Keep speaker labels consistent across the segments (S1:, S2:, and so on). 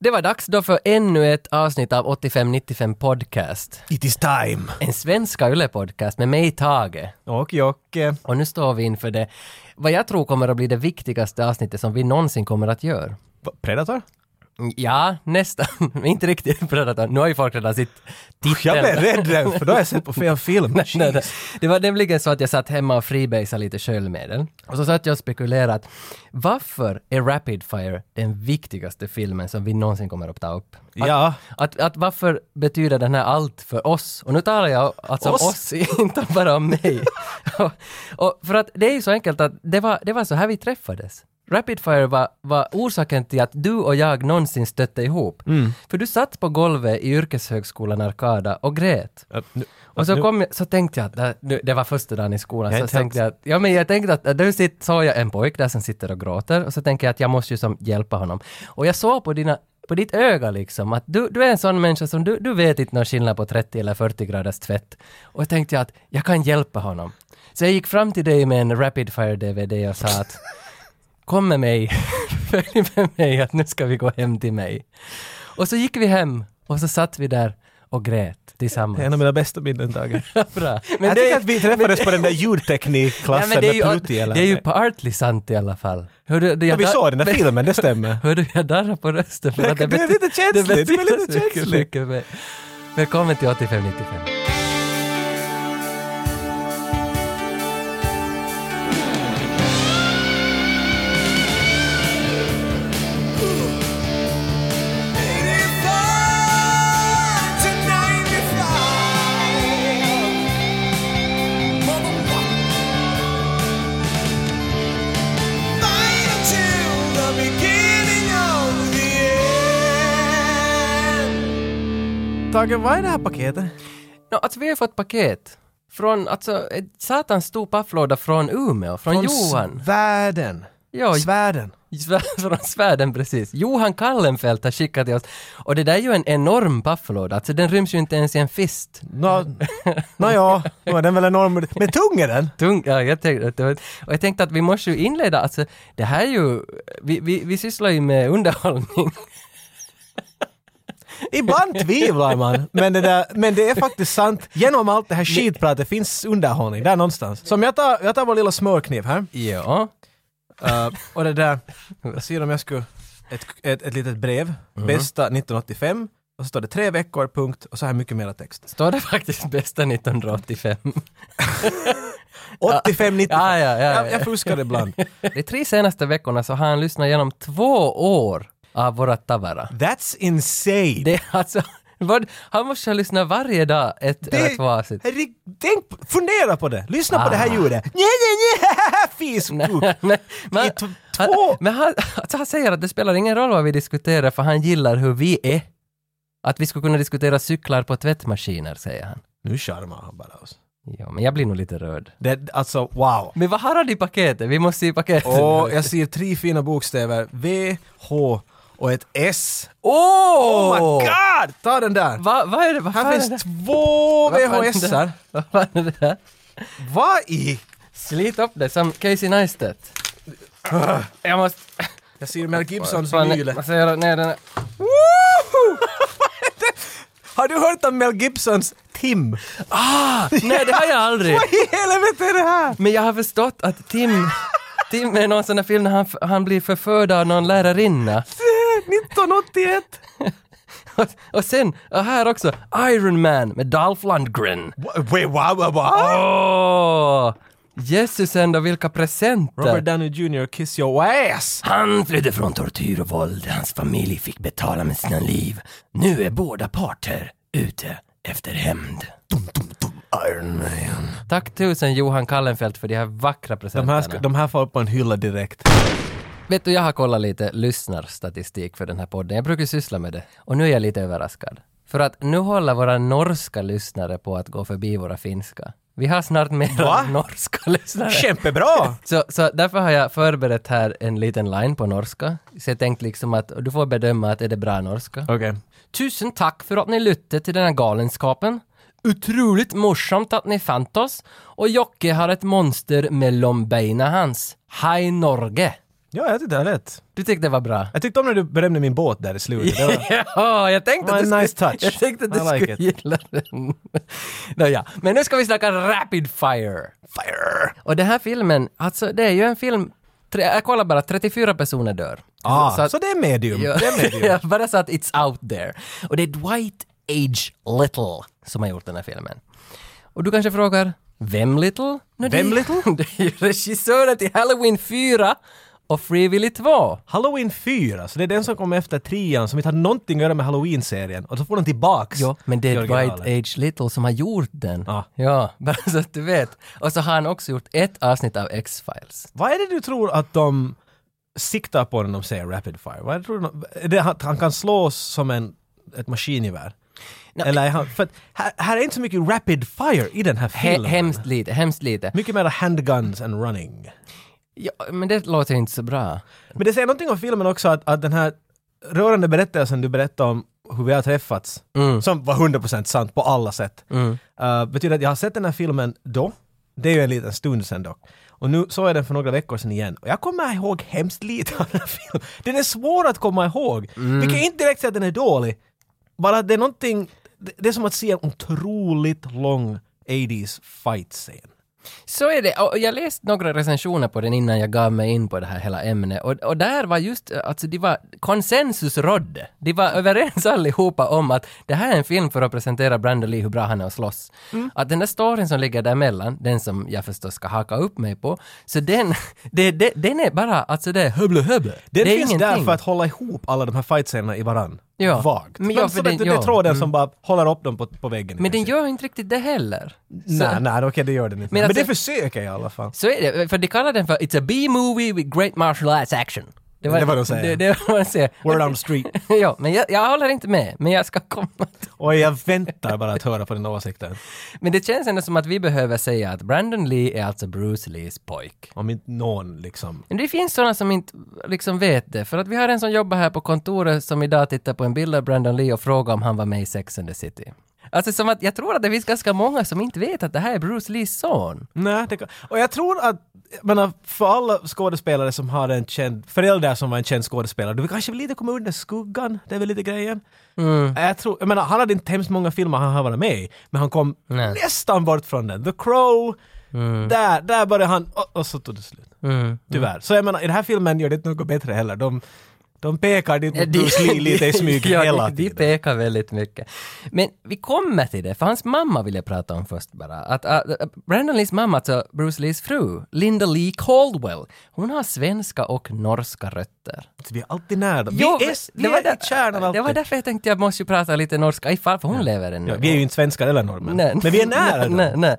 S1: Det var dags då för ännu ett avsnitt av 8595 Podcast.
S2: It is time!
S1: En svenska Yle-podcast med mig Tage.
S2: Och eh, Jocke.
S1: Och nu står vi inför det, vad jag tror kommer att bli det viktigaste avsnittet som vi någonsin kommer att göra.
S2: Va, Predator?
S1: Ja, nästan. Men inte riktigt Predator. Nu har ju folk redan sitt titeln.
S2: Jag blev rädd där, för då har jag sett på fel film.
S1: Nej, nej, nej. Det var nämligen så att jag satt hemma och freebasade lite sköljmedel. Och så satt jag och spekulerade att varför är Rapid Fire den viktigaste filmen som vi någonsin kommer att ta upp? Att,
S2: Ja.
S1: att, att varför betyder den här allt för oss? Och nu talar jag alltså oss,
S2: Oss?
S1: oss inte bara om mig. och, och för att det är ju så enkelt att det var, det var så här vi träffades. Rapid Fire var, var orsaken till att du och jag någonsin stötte ihop. För du satt på golvet i yrkeshögskolan Arkada och grät.
S2: Att nu-
S1: Och
S2: att
S1: så,
S2: nu-
S1: kom jag, så tänkte jag, att det, nu, det var första dagen i skolan,
S2: Jag har
S1: så
S2: inte
S1: tänkte jag, att, ja men jag tänkte att, att du sitter, såg jag en pojk där som sitter och gråter och så tänker jag att jag måste ju som hjälpa honom. Och jag såg på dina på ditt öga liksom, att du, du är en sån människa som du, du vet inte någon skillnad på 30 eller 40 graders tvätt. Och jag tänkte jag att jag kan hjälpa honom. Så jag gick fram till dig med en Rapid Fire DVD och sa att kom med mig, följ med mig, att nu ska vi gå hem till mig. Och så gick vi hem och så satt vi där och grät tillsammans.
S2: En av mina bästa minnen, Tage.
S1: Bra. Men det,
S2: Jag tycker att vi träffades på den där
S1: nej,
S2: ljudteknikklassen
S1: men det, är ju,
S2: med Plutti. eller-
S1: det är ju partly sant i alla fall. Hör du, det,
S2: Ja,
S1: jag
S2: vi
S1: dar-
S2: såg den där filmen, det stämmer.
S1: Hör du, jag darrar på rösten. för
S2: Det-
S1: att
S2: det är
S1: bety-
S2: lite känsligt, det är
S1: betyder
S2: lite
S1: så mycket-
S2: känsligt.
S1: mycket mer. Välkommen till 8595.
S2: Tage, vad är det här paketet?
S1: No, alltså, vi har fått paket. Från, alltså, ett satans stor pafflåda från Umeå, från, Johan.
S2: Svärden.
S1: Ja,
S2: Svärden.
S1: Svär- från svärden precis. Johan Kallenfelt har skickat till oss. Och det där är ju en enorm pafflåda, alltså den ryms ju inte ens i en fist.
S2: Nå, nåja, nå är den väl enorm. Men tung är den!
S1: Tung, ja, jag tänkte, att det var- och jag tänkte att vi måste ju inleda, alltså det här är ju, vi, vi, vi sysslar ju med underhållning.
S2: Ibland tvivlar man, men det, där, men det är faktiskt sant. Genom allt det här skitpratet finns underhållning där någonstans. Som jag tar, jag tar vår lilla smörkniv här.
S1: Ja.
S2: Eh, och det där, jag ser om jag skulle... Ett, ett, ett litet brev, bästa 1985, och så står det tre veckor, punkt, och så här mycket mera text.
S1: Står det faktiskt bästa 1985?
S2: 85, 90.
S1: Ja, ja, ja, ja.
S2: Jag, jag fuskar ibland.
S1: De tre senaste veckorna så har han lyssnat igenom två år av våra Tavara.
S2: That's insane!
S1: Det är alltså, vad, han måste ha lyssnat varje dag ett eller två avsnitt.
S2: Herregud, tänk, på- fundera på det! Lyssna på det här
S1: Ah.
S2: ljudet! Nja, nja, nja, haha, fiskuk!
S1: Men, men,
S2: I t-
S1: han,
S2: två-
S1: men han, alltså han säger att det spelar ingen roll vad vi diskuterar för han gillar hur vi är. Att vi skulle kunna diskutera cyklar på tvättmaskiner, säger han.
S2: Nu charmar han bara oss.
S1: Ja, men jag blir nog lite rörd.
S2: Det, alltså, wow!
S1: Men vad har han i paketet? Vi måste se paketet.
S2: Och jag ser tre fina bokstäver, V, H och ett S.
S1: Åh!
S2: Oh my god! Ta den där!
S1: Va, vad är det? Vad fan
S2: Här
S1: är det?
S2: finns två
S1: Vad fan är det?
S2: VHS-ar.
S1: Vad fan är det där?
S2: Vad i...
S1: Slit upp det som Casey Neistat. Jag måste...
S2: Jag ser Mel Gibsons
S1: Fan,
S2: vinyle.
S1: Man ser ner den här.
S2: Woho! Vad är det? Har du hört om Mel Gibsons Tim?
S1: Nej, det har jag aldrig.
S2: Vad i helvete är det här?
S1: Men jag har förstått att Tim... Tim är någon sån där film när han, han blir förförd av någon lärarinna.
S2: 1981!
S1: Och, och sen, och här också, Iron Man med Dolph Lundgren.
S2: Wait, wow, wow, wow.
S1: Åh! Jesus ändå, vilka presenter!
S2: Robert Downey Jr. Kiss your ass!
S1: Han flydde från tortyr och våld. Hans familj fick betala med sina liv. Nu är båda parter ute efter hämnd.
S2: Iron Man.
S1: Tack tusen Johan Kallenfelt för de här vackra
S2: De
S1: presenterna.
S2: här, ska, de här får upp på en hylla direkt.
S1: Vet du, jag har kollat lite lyssnarstatistik för den här podden. Jag brukar ju syssla med det. Och nu är jag lite överraskad. För att nu håller våra norska lyssnare på att gå förbi våra finska. Vi har snart
S2: Va?
S1: mer norska lyssnare.
S2: Kämpebra!
S1: Så, så därför har jag förberett här en liten line på norska. Så jag tänkte liksom att du får bedöma att är det bra norska.
S2: Okej.
S1: Tusen tack för att ni lyssnade till den här galenskapen. Otroligt morsamt att ni fann oss. Och Jocke har ett monster mellan benen hans. Hej Norge!
S2: Ja, jag tyckte det här lät.
S1: Du tyckte det var bra?
S2: Jag tyckte om när du berömde min båt där i slutet. Det var-
S1: Ja, jag tänkte
S2: var
S1: att du
S2: en
S1: skulle,
S2: nice touch.
S1: Jag tänkte att du
S2: I like
S1: skulle
S2: it.
S1: gilla den. Nåja, men nu ska vi snacka Rapid Fire.
S2: Fire!
S1: Och den här filmen, alltså det är ju en film, tre, jag kollar bara, 34 personer dör.
S2: Ah, så,
S1: att-
S2: det är medium.
S1: Ja.
S2: Det är medium.
S1: Ja, bara så att it's out there. Och det är Dwight H. Little som har gjort den här filmen. Och du kanske frågar, vem Little? No,
S2: Vem
S1: Little? Det är ju regissören till Halloween 4 och Free Willy 2.
S2: Halloween 4, så det är den som kom efter trean som inte hade någonting att göra med Halloween-serien. Och så får den tillbaks.
S1: Ja, men det
S2: i
S1: är
S2: originalet.
S1: Dwight H. Little som har gjort den.
S2: Ja.
S1: Ja, bara så att du vet. Och så har han också gjort ett avsnitt av X-Files.
S2: Vad är det du tror att de siktar på när de säger rapid fire? Vad är det, tror du, de- är det att han kan slås som en, ett maskingevär? Eller är han, för att här, här är inte så mycket rapid fire i den här
S1: He-
S2: filmen.
S1: hemskt lite, hemskt lite.
S2: mycket mer handguns and running.
S1: Ja, men det låter ju inte så bra.
S2: Men det säger någonting om filmen också att, att den här rörande berättelsen du berättade om hur vi har träffats, som var 100% sant på alla sätt, eh, betyder att jag har sett den här filmen då, det är ju en liten stund sedan dock, och nu såg jag den för några veckor sedan igen och jag kommer ihåg hemskt lite av den här filmen. Den är svår att komma ihåg, vilket inte direkt säger att den är dålig, bara det är någonting, det, det är som att se en otroligt lång 80s fight-scen.
S1: Så är det. Och jag läste några recensioner på den innan jag gav mig in på det här hela ämnet. Och, och där var just, alltså det var konsensus rådde. De var överens allihopa om att det här är en film för att presentera Brandon Lee hur bra han är att slåss.
S2: Mm.
S1: Att den där storyn som ligger däremellan, den som jag förstås ska haka upp mig på, så den, det, det, den är bara, alltså det är höble höble.
S2: Den
S1: det är
S2: finns
S1: ingenting.
S2: där för att hålla ihop alla de här fightscenerna i varann.
S1: Ja.
S2: Vagt.
S1: Men
S2: Men,
S1: ja, för
S2: så den,
S1: den-
S2: det,
S1: ja. Mm.
S2: är tråden som bara håller upp dem på, på väggen.
S1: Men den gör inte riktigt det heller.
S2: Nej, nej, okej det gör den inte.
S1: Men
S2: Men,
S1: alltså-
S2: det försöker jag i alla fall.
S1: Så är det, för de kallar den för “It's a B-movie with great martial arts action”.
S2: Det var de
S1: Det,
S2: säger.
S1: det var de säger.
S2: Word on the street.
S1: ja, men jag, jag håller inte med, men jag ska komma till.
S2: Och jag väntar bara att höra på den åsikten.
S1: Men det känns ändå som att vi behöver säga att Brandon Lee är alltså Bruce Lees pojk.
S2: Om inte någon liksom...
S1: Men det finns sådana som inte liksom vet det, för att vi har en som jobbar här på kontoret som idag tittar på en bild av Brandon Lee och frågar om han var med i Sex and the City. Alltså som att jag tror att det finns ganska många som inte vet att det här är Bruce Lees son.
S2: Nej, det kan... Och jag tror att, jag menar, för alla skådespelare som har en känd, föräldrar som var en känd skådespelare, du vill kanske lite komma under skuggan, det är väl lite grejen.
S1: Mm.
S2: Eh, Jag tror, jag menar, han hade inte hemskt många filmer han har varit med i, men han kom
S1: Nej.
S2: nästan bort från den. The Crow, där, där började han, och, och så tog det slut.
S1: Mm.
S2: Tyvärr. Så jag menar, i den här filmen gör det inte något bättre heller. De, de pekar dit mot
S1: De-
S2: Bruce Lee lite i smyg
S1: Ja,
S2: hela
S1: de- De
S2: tiden.
S1: pekar väldigt mycket. Men vi kommer till det, för hans mamma vill jag prata om först bara. Att, äh, Brandon Lees mamma, alltså Bruce Lees fru, Linda Lee Caldwell, hon har svenska och norska rötter.
S2: Vi är alltid nära dem. Vi
S1: Jo,
S2: är,
S1: men
S2: vi är i kärnan
S1: det var
S2: alltid.
S1: därför jag tänkte jag måste ju prata lite norska ifall, för hon lever ännu.
S2: Ja, vi är ju inte svenskar eller norrmän.
S1: Nej.
S2: Men vi är nära
S1: nej,
S2: dem.
S1: nej, nej.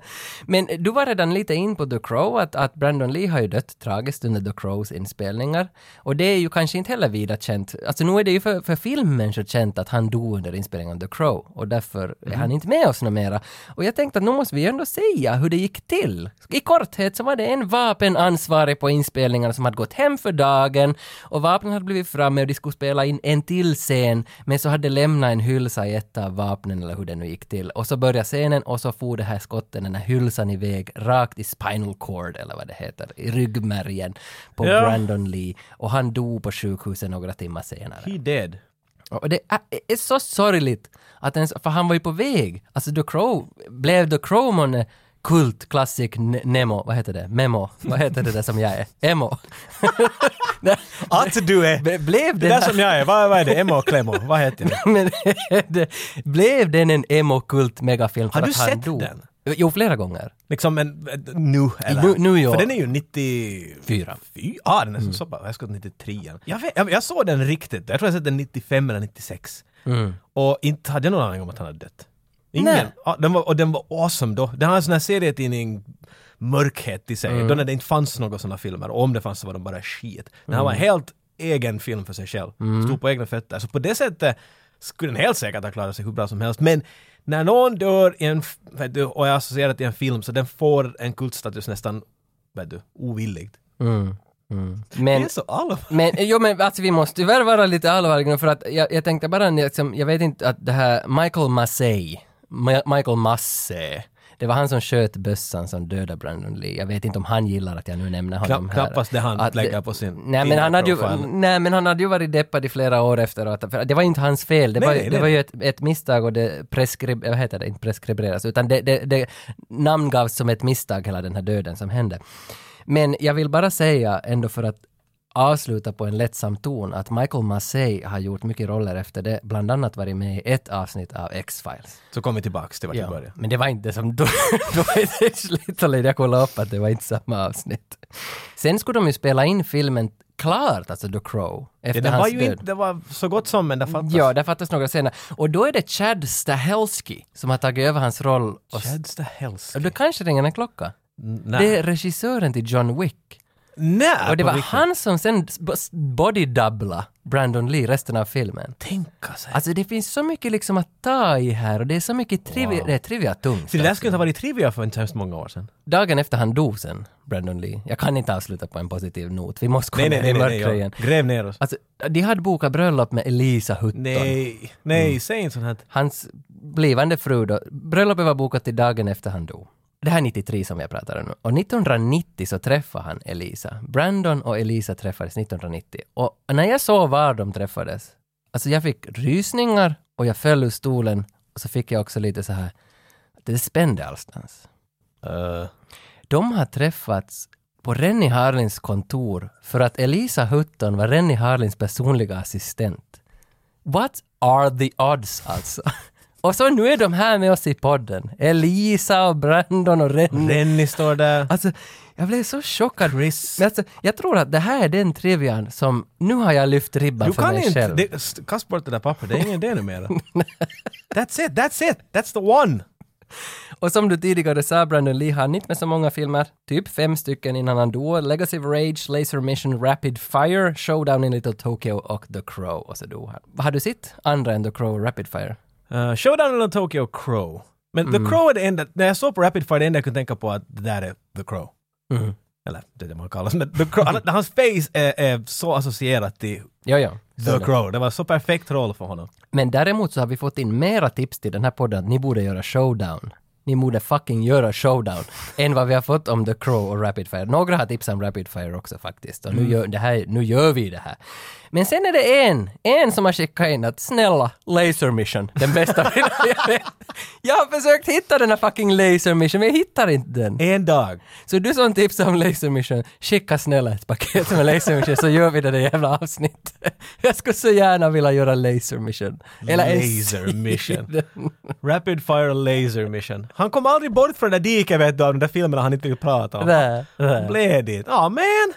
S1: Men du var redan lite in på The Crow, att, att Brandon Lee har ju dött tragiskt under The Crows inspelningar. Och det är ju kanske inte heller vida känt. Alltså nu är det ju för, för filmen så känt att han dog under inspelningen av The Crow och därför är
S2: Mm.
S1: han inte med oss något mera. Och jag tänkte att nu måste vi ändå säga hur det gick till. I korthet så var det en vapenansvarig på inspelningarna som hade gått hem för dagen och vapnen hade blivit framme och de skulle spela in en till scen men så hade lämnat en hylsa i ett av vapnen eller hur det nu gick till och så började scenen och så for det här skotten, den här hylsan iväg rakt i spinal cord eller vad det heter, i ryggmärgen på
S2: Ja.
S1: Brandon Lee och han dog på sjukhuset några timmar senare.
S2: He dead.
S1: Och det är, är så sorgligt att ens, för han var ju på väg. Alltså The Crow, blev The Crow månne kult, classic, ne- Nemo, vad heter det? Memo, vad heter det där som jag är? Emo.
S2: Att du är...
S1: Ble- blev
S2: Det
S1: den
S2: där som jag är, vad, vad är det? Emma och Clemo, vad heter jag?
S1: men, det, blev den en emo-kult megafilm för
S2: Har du
S1: att han
S2: sett
S1: dog?
S2: den?
S1: Jo, flera gånger.
S2: Liksom en... eh, Nu, eller?
S1: Nu- nu, ja.
S2: För den är ju 90...
S1: Fyra.
S2: Fy, ah, den är så pass. Jag ska till 93. Jag, vet, jag, jag såg den riktigt. Jag tror jag sett den 95 eller 96. Och inte hade jag någon aning om att han hade dött. Ingen.
S1: Nej.
S2: Ja, den var, och den var awesome då. Den har en sån här serietidning mörkhet i sig. Då när det inte fanns några såna filmer. Och om det fanns så var de bara skit. Den här var en helt egen film för sig själv. Stod på egna fötter. Så på det sättet skulle den helt säkert ha klarat sig hur bra som helst. Men när någon dör i en, f- vet du, och är associerad till en film så den får en kultstatus nästan, vet du, ovilligt. Det
S1: Men,
S2: är så allvarligt.
S1: men, jo, men alltså, vi måste tyvärr vara lite allvarliga nu, för att jag, jag tänkte bara, liksom, jag vet inte att det här Michael Massey, Ma- Michael Massey, Det var han som sköt bössan som dödade Brandon Lee. Jag vet inte om han gillar att jag nu nämner honom
S2: Knapp,
S1: här.
S2: knappast det han
S1: Att det-
S2: lägger på sin
S1: Nej men, han hade ju,
S2: Tinder-profil.
S1: nej men han hade ju varit deppad i flera år efteråt. För det var ju inte hans fel. Det
S2: Nej,
S1: var,
S2: nej,
S1: det
S2: nej.
S1: var ju ett, ett misstag och det preskrib... Vad heter det? Inte preskriberas. Utan det, det, det namngavs som ett misstag hela den här döden som hände. Men jag vill bara säga ändå för att avsluta på en lättsam ton att Michael Massey har gjort mycket roller efter det, bland annat varit med i ett avsnitt av X-Files.
S2: Så kommer vi tillbaks till vart vi
S1: Ja,
S2: började.
S1: Men det var inte som då, då är det slut och led. jag kollade upp att det var inte samma avsnitt. Sen skulle de ju spela in filmen klart, alltså The Crow,
S2: Ja,
S1: efter
S2: det
S1: hans
S2: var ju
S1: död.
S2: inte, det var så gott som men det fattas.
S1: Ja, där fattas några scener. Och då är det Chad Stahelski som har tagit över hans roll. Och, s-
S2: Chadsta Helski.
S1: och då kanske ringer en klocka. Det
S2: Nej.
S1: är regissören till John Wick.
S2: Nej!
S1: Och det
S2: på
S1: var
S2: riktigt.
S1: han som sen b- s- bodydubbla Brandon Lee resten av filmen.
S2: Tänka sig.
S1: Alltså det finns så mycket liksom att ta i här och det är så mycket trivia, det är trivia tungt.
S2: Så det där skulle inte ha varit trivia för inte hemskt många år sedan.
S1: Dagen efter han dog sen, Brandon Lee. Jag kan inte avsluta på en positiv not. Vi måste komma
S2: Nej, nej, nej.
S1: i
S2: nej,
S1: mörkret
S2: nej ja.
S1: igen.
S2: Gräv ner oss.
S1: Alltså, de hade bokat bröllop med Elisa Hutton.
S2: Nej, nej,
S1: Mm.
S2: säg inte sånt här.
S1: Hans blivande fru då. Bröllopet var bokat till dagen efter han dog. Det här är 93 som jag pratar om nu. Och 1990 så träffade han Elisa. Brandon och Elisa träffades 1990. Och när jag såg var de träffades, alltså jag fick rysningar och jag föll ur stolen och så fick jag också lite så här, det spände allstans. Uh.
S2: Eh,
S1: De har träffats på Rennie Harlins kontor för att Elisa Hutton var Rennie Harlins personliga assistent. What are the odds alltså? Och så nu är de här med oss i podden. Elisa och Brandon och Rennie.
S2: Rennie står där.
S1: Alltså, jag blev så chockad.
S2: Chris.
S1: Men alltså, jag tror att det här är den trivian som, nu har jag lyft ribban
S2: Du
S1: för
S2: kan
S1: mig
S2: inte.
S1: själv.
S2: Det, st- kast bort det där pappret, det är ingen idé numera. That's it, that's it, that's the one!
S1: Och som du tidigare sa, Brandon Lee hann inte med så många filmer, typ fem stycken innan han dog. Legacy of Rage, Laser Mission, Rapid Fire, Showdown in Little Tokyo och The Crow. Och så dog han. Har du sett andra än The Crow och Rapid Fire?
S2: Eh, Showdown in Little Tokyo Crow. Men
S1: Mm.
S2: The Crow är det enda, när jag såg på Rapid Fire, det enda jag kunde tänka på att det där är The Crow.
S1: Mm.
S2: Eller det är det man kallas, men The Crow, han- hans face är, är så associerat till
S1: Jo, jo. Så
S2: The
S1: det.
S2: Crow. Det var så perfekt roll för honom.
S1: Men däremot så har vi fått in mera tips till den här podden att ni borde göra Showdown. Ni borde fucking göra Showdown än vad vi har fått om The Crow och Rapid Fire. Några har tips om Rapid Fire också faktiskt. Och nu gör, det här, nu gör vi det här. Men sen är det en, en som har skickat in att snälla, Laser Mission, den bästa filmen jag vet. Jag har försökt hitta den här fucking Laser Mission, men jag hittar inte den.
S2: En dag.
S1: Så du som tipsar om Laser Mission, skicka snälla ett paket med Laser Mission så gör vi det där jävla avsnittet. Jag skulle så gärna vilja göra Laser Mission. en
S2: laser mission. Rapid Fire Laser Mission. Han kom aldrig bort från det där diket vet du, av den där filmen han inte vill prata om.
S1: Där, där.
S2: Blev dit. Ja, men.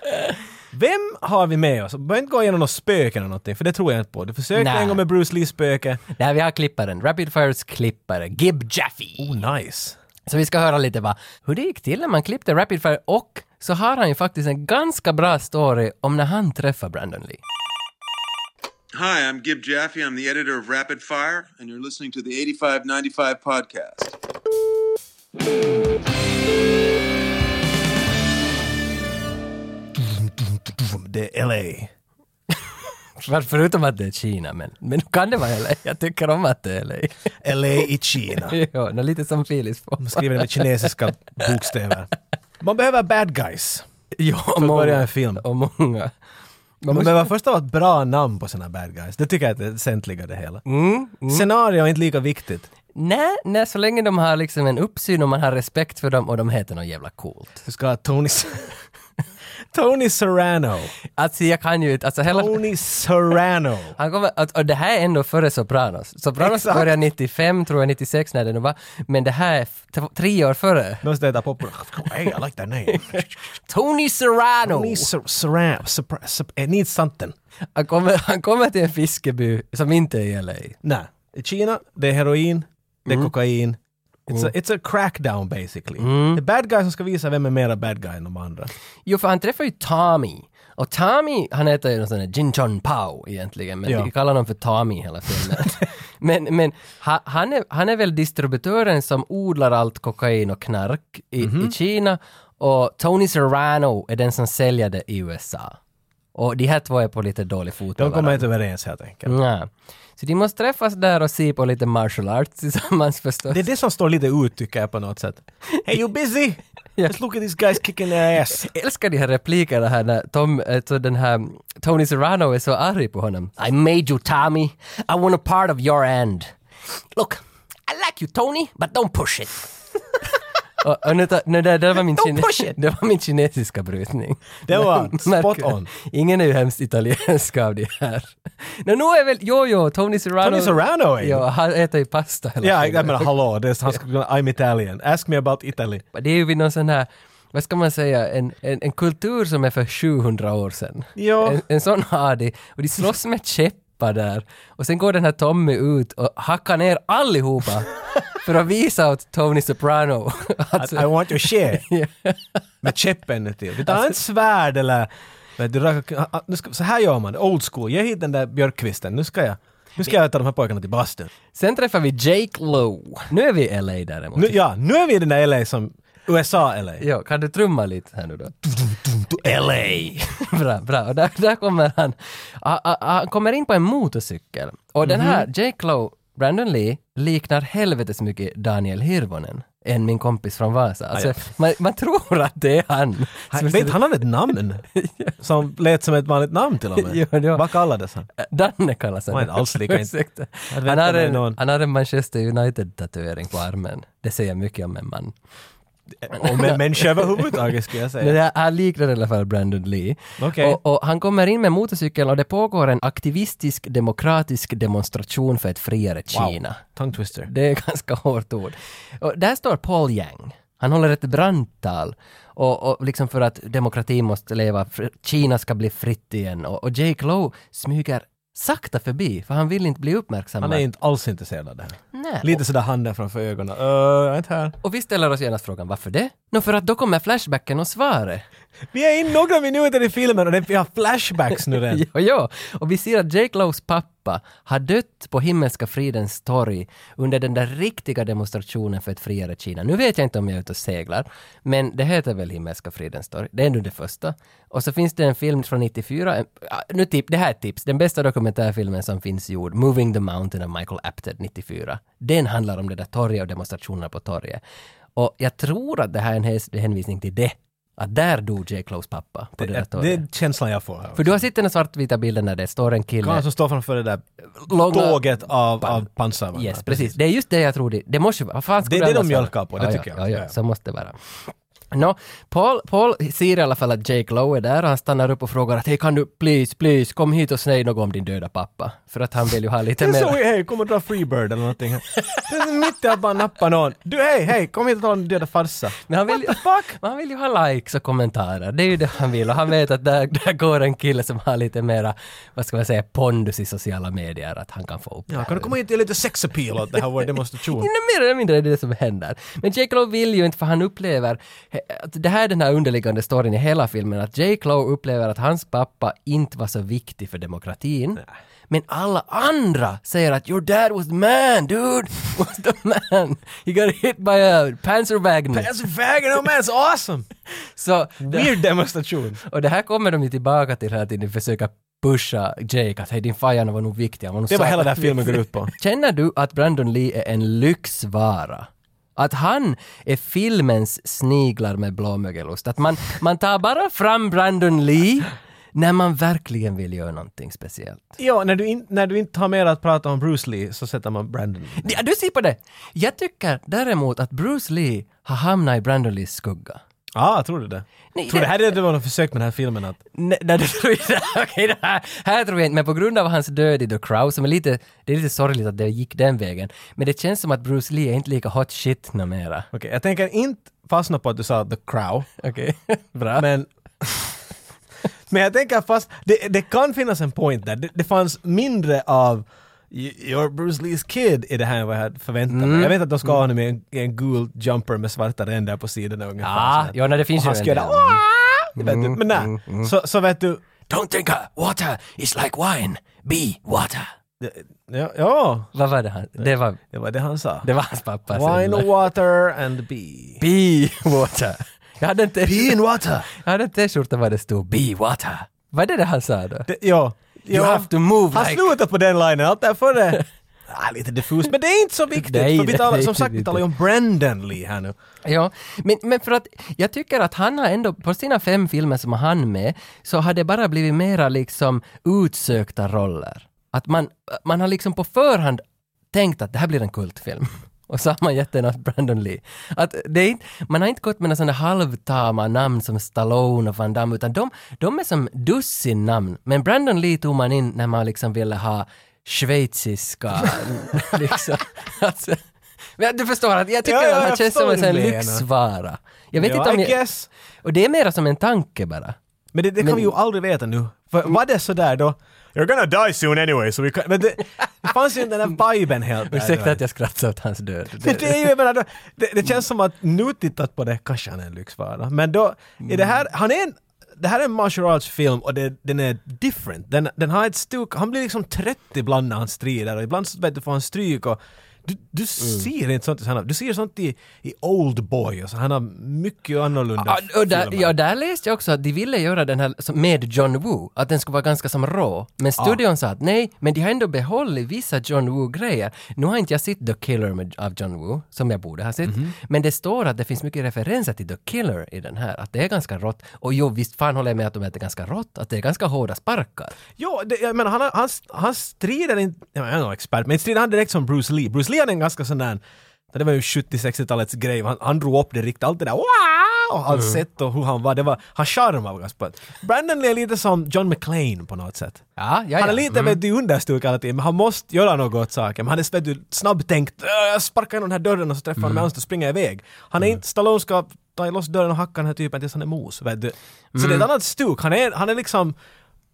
S2: Vem har vi med oss? Behöver inte gå igenom något spöke eller någonting, för det tror jag inte på. Du försökte
S1: Nej.
S2: en gång med Bruce Lees spöke.
S1: Där vi har klipparen, Rapid Fires klippare, Gib Jaffe.
S2: Oh, nice.
S1: Så vi ska höra lite vad, hur det gick till när man klippte Rapid Fire och så har han ju faktiskt en ganska bra story om när han träffar Brandon Lee.
S3: Hi, I'm Gib Jaffe. I'm the editor of Rapid Fire, and you're listening to the 8595 podcast.
S2: Det är LA.
S1: För- Förutom att det är Kina, men, men kan det vara LA? Jag tycker om att det är LA.
S2: LA i Kina.
S1: ja, nå, lite som Filis får.
S2: Man skriver det med kinesiska bokstäver. Man behöver bad guys.
S1: Ja, och
S2: att
S1: många.
S2: börja en film.
S1: Och många.
S2: Man behöver först av allt bra namn på sina bad guys. Det tycker jag är det väsentliga det hela. Scenario är inte lika viktigt.
S1: Nej, nej, så länge de har liksom en uppsyn och man har respekt för dem och de heter något jävla coolt.
S2: Du ska ha Tony... Tony Serrano.
S1: Alltså jag kan ju inte, alltså hela...
S2: Tony Serrano.
S1: Han kommer, att- och det här är ändå före Sopranos. Sopranos
S2: Exakt.
S1: började 95, tror jag, 96 när det nu var. Men det här är f- t- tre år före.
S2: Någon som heter Popper. Hey, I like that name.
S1: Tony Serrano!
S2: Tony Ser- Serrano. Serra- Ser- It needs something.
S1: Han, kommer, han kommer till en fiskeby som inte är i LA.
S2: Nej. I Kina, det är heroin, det är kokain. It's, a, it's a crackdown basically. Det är bad guy som ska visa vem är mera bad guy än de andra.
S1: Jo, för han träffar ju Tommy. Och Tommy, han heter ju någon sån där Jin Chon Pao egentligen, men
S2: Ja.
S1: vi kallar honom för Tommy hela filmen. men men ha, han, är, han är väl distributören som odlar allt kokain och knark i,
S2: Mhm.
S1: i Kina och Tony Serrano är den som säljer det i USA. Och de här två är på lite dålig fot med
S2: De kommer
S1: varandra.
S2: inte överens helt enkelt.
S1: Nej. Så de måste träffas där och se på lite martial arts tillsammans förstås.
S2: Det är det som står lite ut tycker jag på något sätt. Hey you busy? Just look at these guys kicking their ass.
S1: Jag älskar de här replikerna här när Tom, alltså den här Tony Serrano är så arg på honom. I made you Tommy, I want a part of your end. Look, I like you Tony, but don't push it. och, och nu, ta- nu, det, det, var min
S2: Don't
S1: kine-
S2: push it.
S1: det var min kinesiska brytning.
S2: Det var
S1: Men-
S2: spot
S1: märker-
S2: on.
S1: Ingen är ju hemskt italiensk av det här. Men nu är väl, jo jo, Tony Serrano.
S2: Tony Serrano är ju-
S1: Ja, han äter ju pasta hela
S2: Ja,
S1: tiden.
S2: jag menar hallå, det är, han skulle kunna, I'm Italian. Ask me about Italy.
S1: Det är ju vid någon sån här, vad ska man säga, en, en, en kultur som är för 700 år sedan.
S2: Ja.
S1: En, en sån har de. Och de slåss med käppar där. Och sen går den här Tommy ut och hackar ner allihopa för att visa åt Tony Soprano att... Alltså-
S2: I want your share.
S1: Ja.
S2: Med käppen till. Vi tar inte svärd eller... Vet du, raka- ah, nu ska, så här gör man, old school. Ge hit den där björkkvisten, nu ska jag... Nu ska jag ta de här pojkarna till bastun.
S1: Sen träffar vi Jake Lowe. Nu är vi i LA däremot.
S2: Nu, ja, nu är vi i den där LA som... USA-LA.
S1: Ja, kan du trumma lite här nu då?
S2: LA!
S1: bra, bra. Och där, där kommer han. Ah, ah, ah, Han kommer in på en motorcykel. Och den här
S2: Mhm.
S1: Jake Lowe, Brandon Lee, liknar helvetes mycket Daniel Hirvonen. Än min kompis från Vasa. Alltså,
S2: Ah,
S1: man, man tror att det är han.
S2: Han,
S1: Som-
S2: vet, han hade ett namn som lät som ett vanligt namn till och med.
S1: Ja, ja.
S2: Vad kallades han?
S1: Äh, Danne kallas han.
S2: Man är inte alls lika in-
S1: Ursäkta.
S2: Jag vet
S1: han, har
S2: inte om det är
S1: en,
S2: någon.
S1: han har en Manchester United-tatuering på armen. Det säger mycket om en man.
S2: Om en människa överhuvudtaget skulle jag
S1: Men
S2: säga.
S1: det här- han liknar i alla fall Brandon Lee.
S2: Okej.
S1: Och, och han kommer in med motorcykeln och det pågår en aktivistisk demokratisk demonstration för ett friare Kina.
S2: Tongue twister.
S1: Det är ganska hårt ord. Och där står Paul Yang. Han håller ett brandtal. Och, och liksom för att demokratin måste leva, för Kina ska bli fritt igen. Och, och Jake Lowe smyger sakta förbi, för han vill inte bli uppmärksammad.
S2: Han är inte alls intresserad av det här.
S1: Nej.
S2: Lite sådär handen framför ögonen. Uh, jag är inte här.
S1: Och vi ställer oss genast frågan varför det? Nå, för att då kommer flashbacken och svaret.
S2: Vi är in några minuter i filmen och det, vi har flashbacks nu redan.
S1: Ja, ja. Och vi ser att Jake Lowes pappa har dött på Himmelska fridens torg under den där riktiga demonstrationen för ett friare Kina. Nu vet jag inte om jag är ute och seglar, men det heter väl Himmelska fridens torg. Det är nu det första. Och så finns det en film från 94, en- ah, nu tip, det här är ett tips, den bästa dokumentärfilmen som finns gjord, Moving the Mountain av Michael Apted 94. Den handlar om det där torget och demonstrationerna på torget. Och jag tror att det här är en hes- hänvisning till det. Att där dog Jake Lowes pappa. På det, där
S2: Det,
S1: torget.
S2: det är känslan jag får här.
S1: För du har sett den här svartvita bilden där det står en
S2: Han
S1: kille...
S2: som står framför det där
S1: Långa-
S2: tåget av, av pansarvagnar.
S1: Yes, precis. Det är just det jag tror det... Det måste ju vara... vad fan skulle
S2: Det är det
S1: annars
S2: de
S1: vara?
S2: mjölkar på, det
S1: ja,
S2: tycker
S1: ja,
S2: jag.
S1: Ja,
S2: Ja,
S1: ja,
S2: ja.
S1: så måste det vara. Nå, Paul, Paul ser i alla fall att Jake Lowe är där och han stannar upp och frågar att hej kan du please, please kom hit och säg något om din döda pappa. För att han vill ju ha lite
S2: Det är så,
S1: mer...
S2: hej, kom och dra Freebird eller någonting. här. Det är mitt i att bara nappa någon. Du, hej, hej, kom hit och ta en döda farsa.
S1: Men han, vill, ju- men han vill ju ha likes och kommentarer, det är ju det han vill och han vet att där, där går en kille som har lite mera, vad ska man säga, pondus i sociala medier att han kan få upp
S2: Ja, kan du komma hit och göra lite sex appeal åt det här vår demonstration?
S1: Nej, mer eller mindre är det det som händer. Men Jake Lowe vill ju inte för han upplever, att det här är den här underliggande storyn i hela filmen, att Jake Lowe upplever att hans pappa inte var så viktig för demokratin. Men alla andra säger att “Your dad was the man, dude! Was the man! He got hit by a panzerwagner!”
S2: That's vägen oh man, it's awesome!
S1: Så,
S2: Weird demonstration.
S1: och det här kommer de ju tillbaka till hela tiden, försöka pusha Jake att “Hej, din fajan var nog viktig, han var nog
S2: Det var
S1: satan
S2: hela den här filmen går ut på.
S1: Känner du att Brandon Lee är en lyxvara? Att han är filmens sniglar med blåmögelost. Att man, man tar bara fram Brandon Lee när man verkligen vill göra någonting speciellt.
S2: Ja, när du, in, när du inte har mer att prata om Bruce Lee så sätter man Brandon.
S1: Ja, Du ser på det! Jag tycker däremot att Bruce Lee har hamnat i Brandon Lees skugga.
S2: Ja, ah, tror du det?
S1: Nej,
S2: tror
S1: det-
S2: det här är det var något försök med den här filmen att...
S1: Nej, nej, det tror jag Okej, det här, här tror jag inte, men på grund av hans död i The Crow, som är lite, det är lite sorgligt att det gick den vägen, men det känns som att Bruce Lee är inte lika hot shit numera.
S2: Okej, jag tänker inte fastna på att du sa The Crow,
S1: Okej, bra.
S2: men... men jag tänker fast, det, det kan finnas en point där. Det, det fanns mindre av "You- You're Bruce Lees kid i det här än vad jag hade förväntat mig.
S1: Mm.
S2: Jag vet att de ska ha honom i en, i en gul jumper med svarta ränder på sidorna ungefär.
S1: Ja,
S2: så här.
S1: ja, nej, det finns
S2: Och han
S1: ju en
S2: ska göra
S1: del. Mm.
S2: "Wah!" Vet du, Men nej, så, så vet du...
S1: Don't think uh, water is like wine. Be water.
S2: Ja, ja,
S1: Vad var det han? Det var,
S2: det var det han sa.
S1: det var hans pappa. som-
S2: Wine, water and bee.
S1: Be water. Jag hade en t-
S2: water!
S1: jag hade en t-skjorta där det stod Be water. Var det det han sa då?
S2: Det, ja,
S1: You have to move
S2: Han
S1: like...
S2: slutar på den linen, allt därför det... Ah, lite diffust, men det är inte så viktigt.
S1: Nej,
S2: för vi
S1: det
S2: talar,
S1: är
S2: som
S1: inte
S2: sagt, vi
S1: viktigt.
S2: talar ju om Brandon Lee här nu.
S1: Ja, men, men för att jag tycker att han har ändå, på sina fem filmer som han med, så har det bara blivit mera liksom utsökta roller. Att man, man har liksom på förhand tänkt att det här blir en kultfilm. Och så har man gett den åt Brandon Lee. Att det är, inte- man har inte gått med några sådana halvtama namn som Stallone och Van Damme, utan de, de är som dussin namn. Men Brandon Lee tog man in när man liksom ville ha schweiziska, liksom. Alltså, men du förstår att jag tycker
S2: Ja, ja,
S1: att han
S2: jag
S1: känns som en sån
S2: förstår vad du menar.
S1: lyxvara. Jag vet
S2: Ja,
S1: inte om
S2: I
S1: jag,
S2: guess.
S1: Och det är mera som en tanke bara.
S2: Men det, det kan
S1: Men-
S2: vi ju aldrig veta nu. För var det sådär då? You're gonna die soon anyway, so we can... Men det, det fanns ju inte den där viben helt. där
S1: Ursäkta
S2: då.
S1: att jag skrattar åt hans död.
S2: Men det är ju, jag menar, då- det, det känns som att nu tittat på det kanske han är en lyxvara. Men då, är det
S1: Mm.
S2: här, han är en, det här är en martial arts-film och det, den är different. Den, den har ett stuk, han blir liksom 30 ibland när han strider och ibland så vet du får han stryk och du, du
S1: Mm.
S2: ser inte sånt i sådana, du ser sånt i, i Oldboy och så, han har mycket annorlunda
S1: Ja, Ah, och där,
S2: filmer.
S1: ja, där läste jag också att de ville göra den här som- med John Woo, att den skulle vara ganska som rå. Men studion sa att nej, men de har ändå behållit vissa John Woo-grejer. Nu har inte jag sett The Killer med, av John Woo, som jag borde ha sett,
S2: Mhm.
S1: men det står att det finns mycket referenser till The Killer i den här, att det är ganska rått. Och jo, visst fan håller jag med att de är ganska rått, att det är ganska hårda sparkar.
S2: Ja, det, jag menar han, har- han, han strider inte, jag menar, jag är nog expert, men strider han direkt som Bruce Lee. Bruce Lee hade en ganska sån där, det var ju 70-60-talets grej, han, han drog upp det riktigt, allt det där wow! Och hans
S1: Mm.
S2: sätt och hur han var, det var, han charmade ganska på ett- Brandon Lee är lite som John McClane på något sätt.
S1: Ja, ja,
S2: Han
S1: ja.
S2: är lite vet du, understuk hela tiden, men han måste göra något åt saken. Men Han är vet du, snabbtänkt, "Åh, jag sparkar in den här dörren och så träffar han mig och så springer jag iväg. Han är inte, Stallone ska ta loss dörren och hacka den här typen tills han är mos. Vet du. Så det är ett annat stuk, han är, han är liksom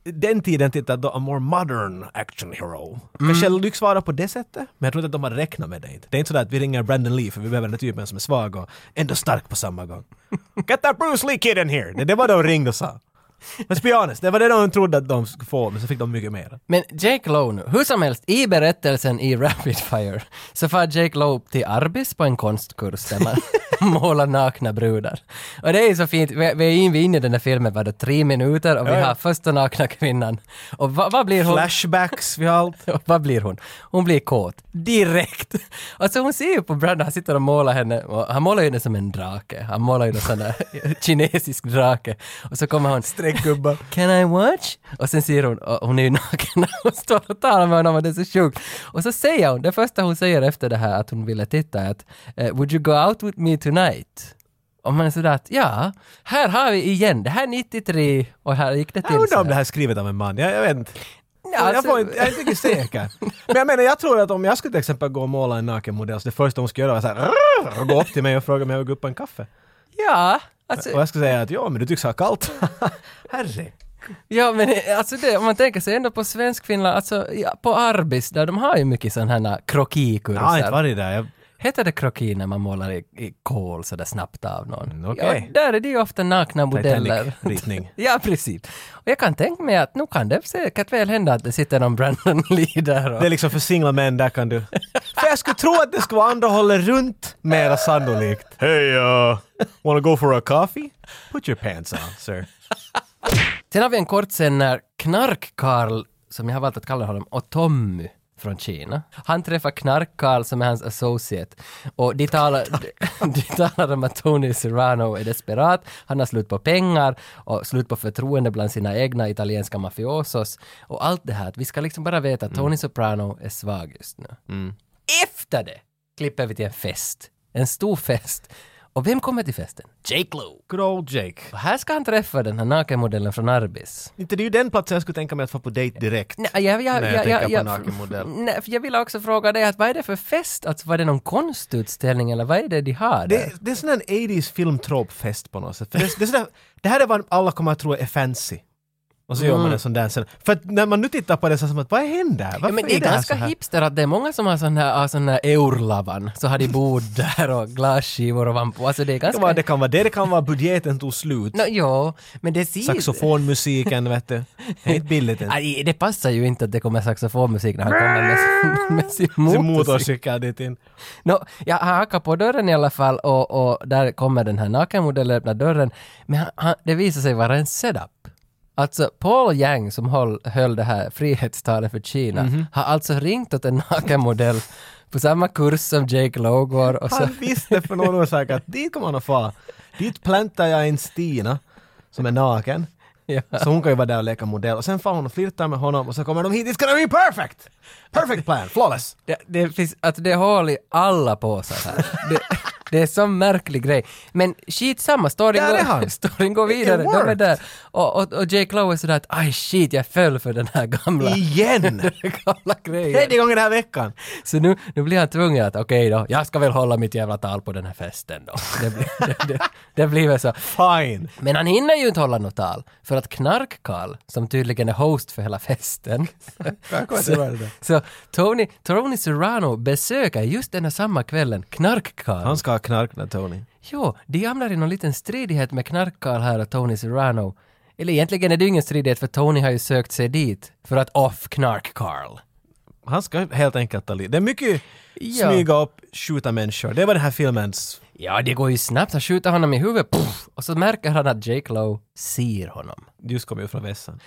S2: den tiden tittade då a more modern action hero. Kanske lyxvara på det sättet, men jag tror inte att de har räknat med det. inte. Det är inte sådär att vi ringer Brandon Lee för vi behöver den här typen som är svag och ändå stark på samma gång. Get that Bruce Lee kid in here! Det, det var de ringde och sa. Let's be honest, det var det de trodde att de skulle få, men så fick de mycket mer.
S1: Men Jake Lowe nu, hur som helst, i berättelsen i Rapid Fire så far Jake Lowe till Arbis på en konstkurs där man målar nakna brudar. Och det är så fint, vi, vi är in- vi är inne i den här filmen bara tre minuter och vi
S2: Ja, ja.
S1: har första nakna kvinnan. Och vad, vad blir hon?
S2: Flashbacks, vi har allt.
S1: Och vad blir hon? Hon blir kåt. Direkt! Alltså hon ser ju på Brandon, han sitter och målar henne, och han målar ju henne som en drake. Han målar ju en sån där kinesisk drake. Och så kommer hon...
S2: Streckgubbar.
S1: Can I watch? Och sen ser hon, och hon är ju naken när hon står och talar med honom och det är så sjukt. Och så säger hon, det första hon säger efter det här att hon ville titta är att eh, Would you go out with me tonight? Och man är sådär att ja, här har vi igen, det här är 93 och här gick det till
S2: Jag undrar
S1: så
S2: om
S1: här.
S2: det här är skrivet av en man, jag, jag vet inte.
S1: Ja,
S2: jag,
S1: alltså-
S2: får inte, jag är inte riktigt säker. Men jag menar, jag tror att om jag skulle till exempel gå och måla en naken modell, så det första hon skulle göra var såhär och gå upp till mig och fråga om jag vill gå upp på en kaffe.
S1: Ja, alltså,
S2: Och jag skulle säga att ja, men du tycks ha kallt. Herre.
S1: Ja men eh, alltså det, om man tänker sig ändå på Svenskfinland, alltså ja, på Arbis där de har ju mycket sådana här
S2: Jag har inte
S1: krokikurser.
S2: varit där. Jag,
S1: Heter det kroki när man målar i, i kol sådär snabbt av någon?
S2: Mm, okej.
S1: ja, där är det ju ofta nakna modeller.
S2: Titanic-ritning.
S1: ja precis. Och jag kan tänka mig att nu kan det säkert väl hända att det sitter någon Brandon Lee där och...
S2: Det är liksom för singla män, där kan du. För jag skulle tro att det skulle vara andra hållet runt mera sannolikt. Hej, uh, wanna go for a coffee? Put your pants on, sir.
S1: Sen har vi en kort sen när Knark-Karl, som jag har valt att kalla honom, och Tommy från Kina. Han träffar Knark-Karl som är hans associate och de talar, de, de talar om att Tony Serrano är desperat, han har slut på pengar och slut på förtroende bland sina egna italienska mafiosos och allt det här. Att Vi ska liksom bara veta att Tony Soprano är svag just nu. Efter det klipper vi till en fest, en stor fest. Och vem kommer till festen? Jake Lowe.
S2: Good old Jake.
S1: Och här ska han träffa den här nakenmodellen från Arbis.
S2: Inte det är ju den platsen jag skulle tänka mig att få på dejt direkt.
S1: Nej, jag, jag,
S2: När jag
S1: jag,
S2: tänker
S1: jag,
S2: på
S1: jag,
S2: nakenmodell.
S1: Nej, för jag vill också fråga dig att vad är det för fest? Alltså var det någon konstutställning eller vad är det de har där?
S2: Det, det är sån där 80s filmtropfest på något sätt. För det, det, är sån där, det här är vad alla kommer att tro är fancy. Och så gör man en sån där sen. För att när man nu tittar på det så är det som att vad händer? Varför
S1: Mm. Ja, men det är,
S2: här
S1: ganska
S2: så här?
S1: hipster att det är många som har sån här, har sån här eurlavan, så har de bord där och glasskivor och vampo. Alltså det är
S2: Det kan,
S1: ganska...
S2: vara, det kan vara det, det kan vara budgeten tog slut.
S1: Nå, ja, men det ser...
S2: Saxofonmusiken, vet du. Det är inte billigt ens.
S1: Aj, det passar ju inte att det kommer saxofonmusik när han kommer med, sin- med sin
S2: Sin
S1: motorcykel.
S2: motorcykel dit in.
S1: No, jag hackar på dörren i alla fall och, och där kommer den här nakenmodellen öppna dörren. Men han, han, det visar sig vara en setup. Alltså Paul Yang som höll, höll det här frihetstalet för Kina
S2: Mhm.
S1: har alltså ringt åt en nakenmodell på samma kurs som Jake Lowe går och så...
S2: Han visste för någon orsak att dit kommer han att fara. Dit plantar jag en Stina som är naken.
S1: Ja.
S2: Så hon kan ju vara där och leka modell och sen får hon och flirtar med honom och så kommer de hit, it's gonna be perfect! Perfect plan, flawless!
S1: Det, det finns, alltså det är hål i alla påsar här. Det, det är en sån märklig grej. Men skitsamma, storyn,
S2: Där är
S1: går,
S2: han.
S1: storyn går
S2: It- it
S1: vidare. De är
S2: worked.
S1: där. Och, och, och Jake Lowe är sådär att aj shit, jag föll för den här gamla,
S2: Igen!
S1: den gamla grejen.
S2: Tredje gången den här veckan!
S1: Så nu, nu blir han tvungen att okej då, jag ska väl hålla mitt jävla tal på den här festen då. Det blir, det, det, det blir väl så.
S2: Fine!
S1: Men han hinner ju inte hålla något tal, för att Knark-Karl, som tydligen är host för hela festen,
S2: Välkommen till
S1: så,
S2: världen.
S1: så Tony, Tony Serrano besöker just den här samma kvällen Knark-Karl.
S2: Han ska ha knarkna Tony.
S1: Jo, de hamnar i någon liten stridighet med Knark-Karl här och Tony Serrano. Eller egentligen är det ju ingen stridighet, för Tony har ju sökt sig dit för att off Knark-Karl.
S2: Han ska helt enkelt ta livet. Det är mycket
S1: Ja.
S2: smyga upp, skjuta människor. Det var den här filmens...
S1: Ja, det går ju snabbt. Han skjuter honom i huvudet. Puff, och så märker han att Jake Lowe ser honom.
S2: Ljus kommer ju från vässan.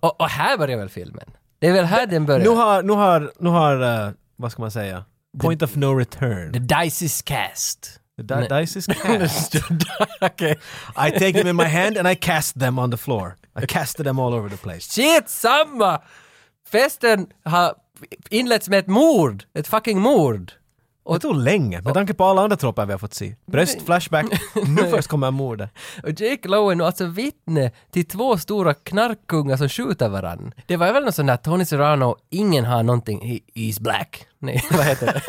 S1: Och, och här börjar väl filmen? Det är väl här den börjar?
S2: Nu har, nu har, nu har, eh, vad ska man säga? Point of no return.
S1: The dice is cast.
S2: The di- dice is cast.
S1: Okej.
S2: I take them in my hand and I cast them on the floor. I casted them all over the place.
S1: Shit, samma! Festen har inletts med ett mord. Ett fucking mord.
S2: Det tog länge, med tanke på alla andra troppar vi har fått se. Bröst, flashback, nu först kommer mordet.
S1: Och Jake Lowen är alltså vittne till två stora knarkkungar som skjuter varann. Det var väl något sånt där Tony Serrano, ingen har någonting, he, he's black. Nej, vad heter det?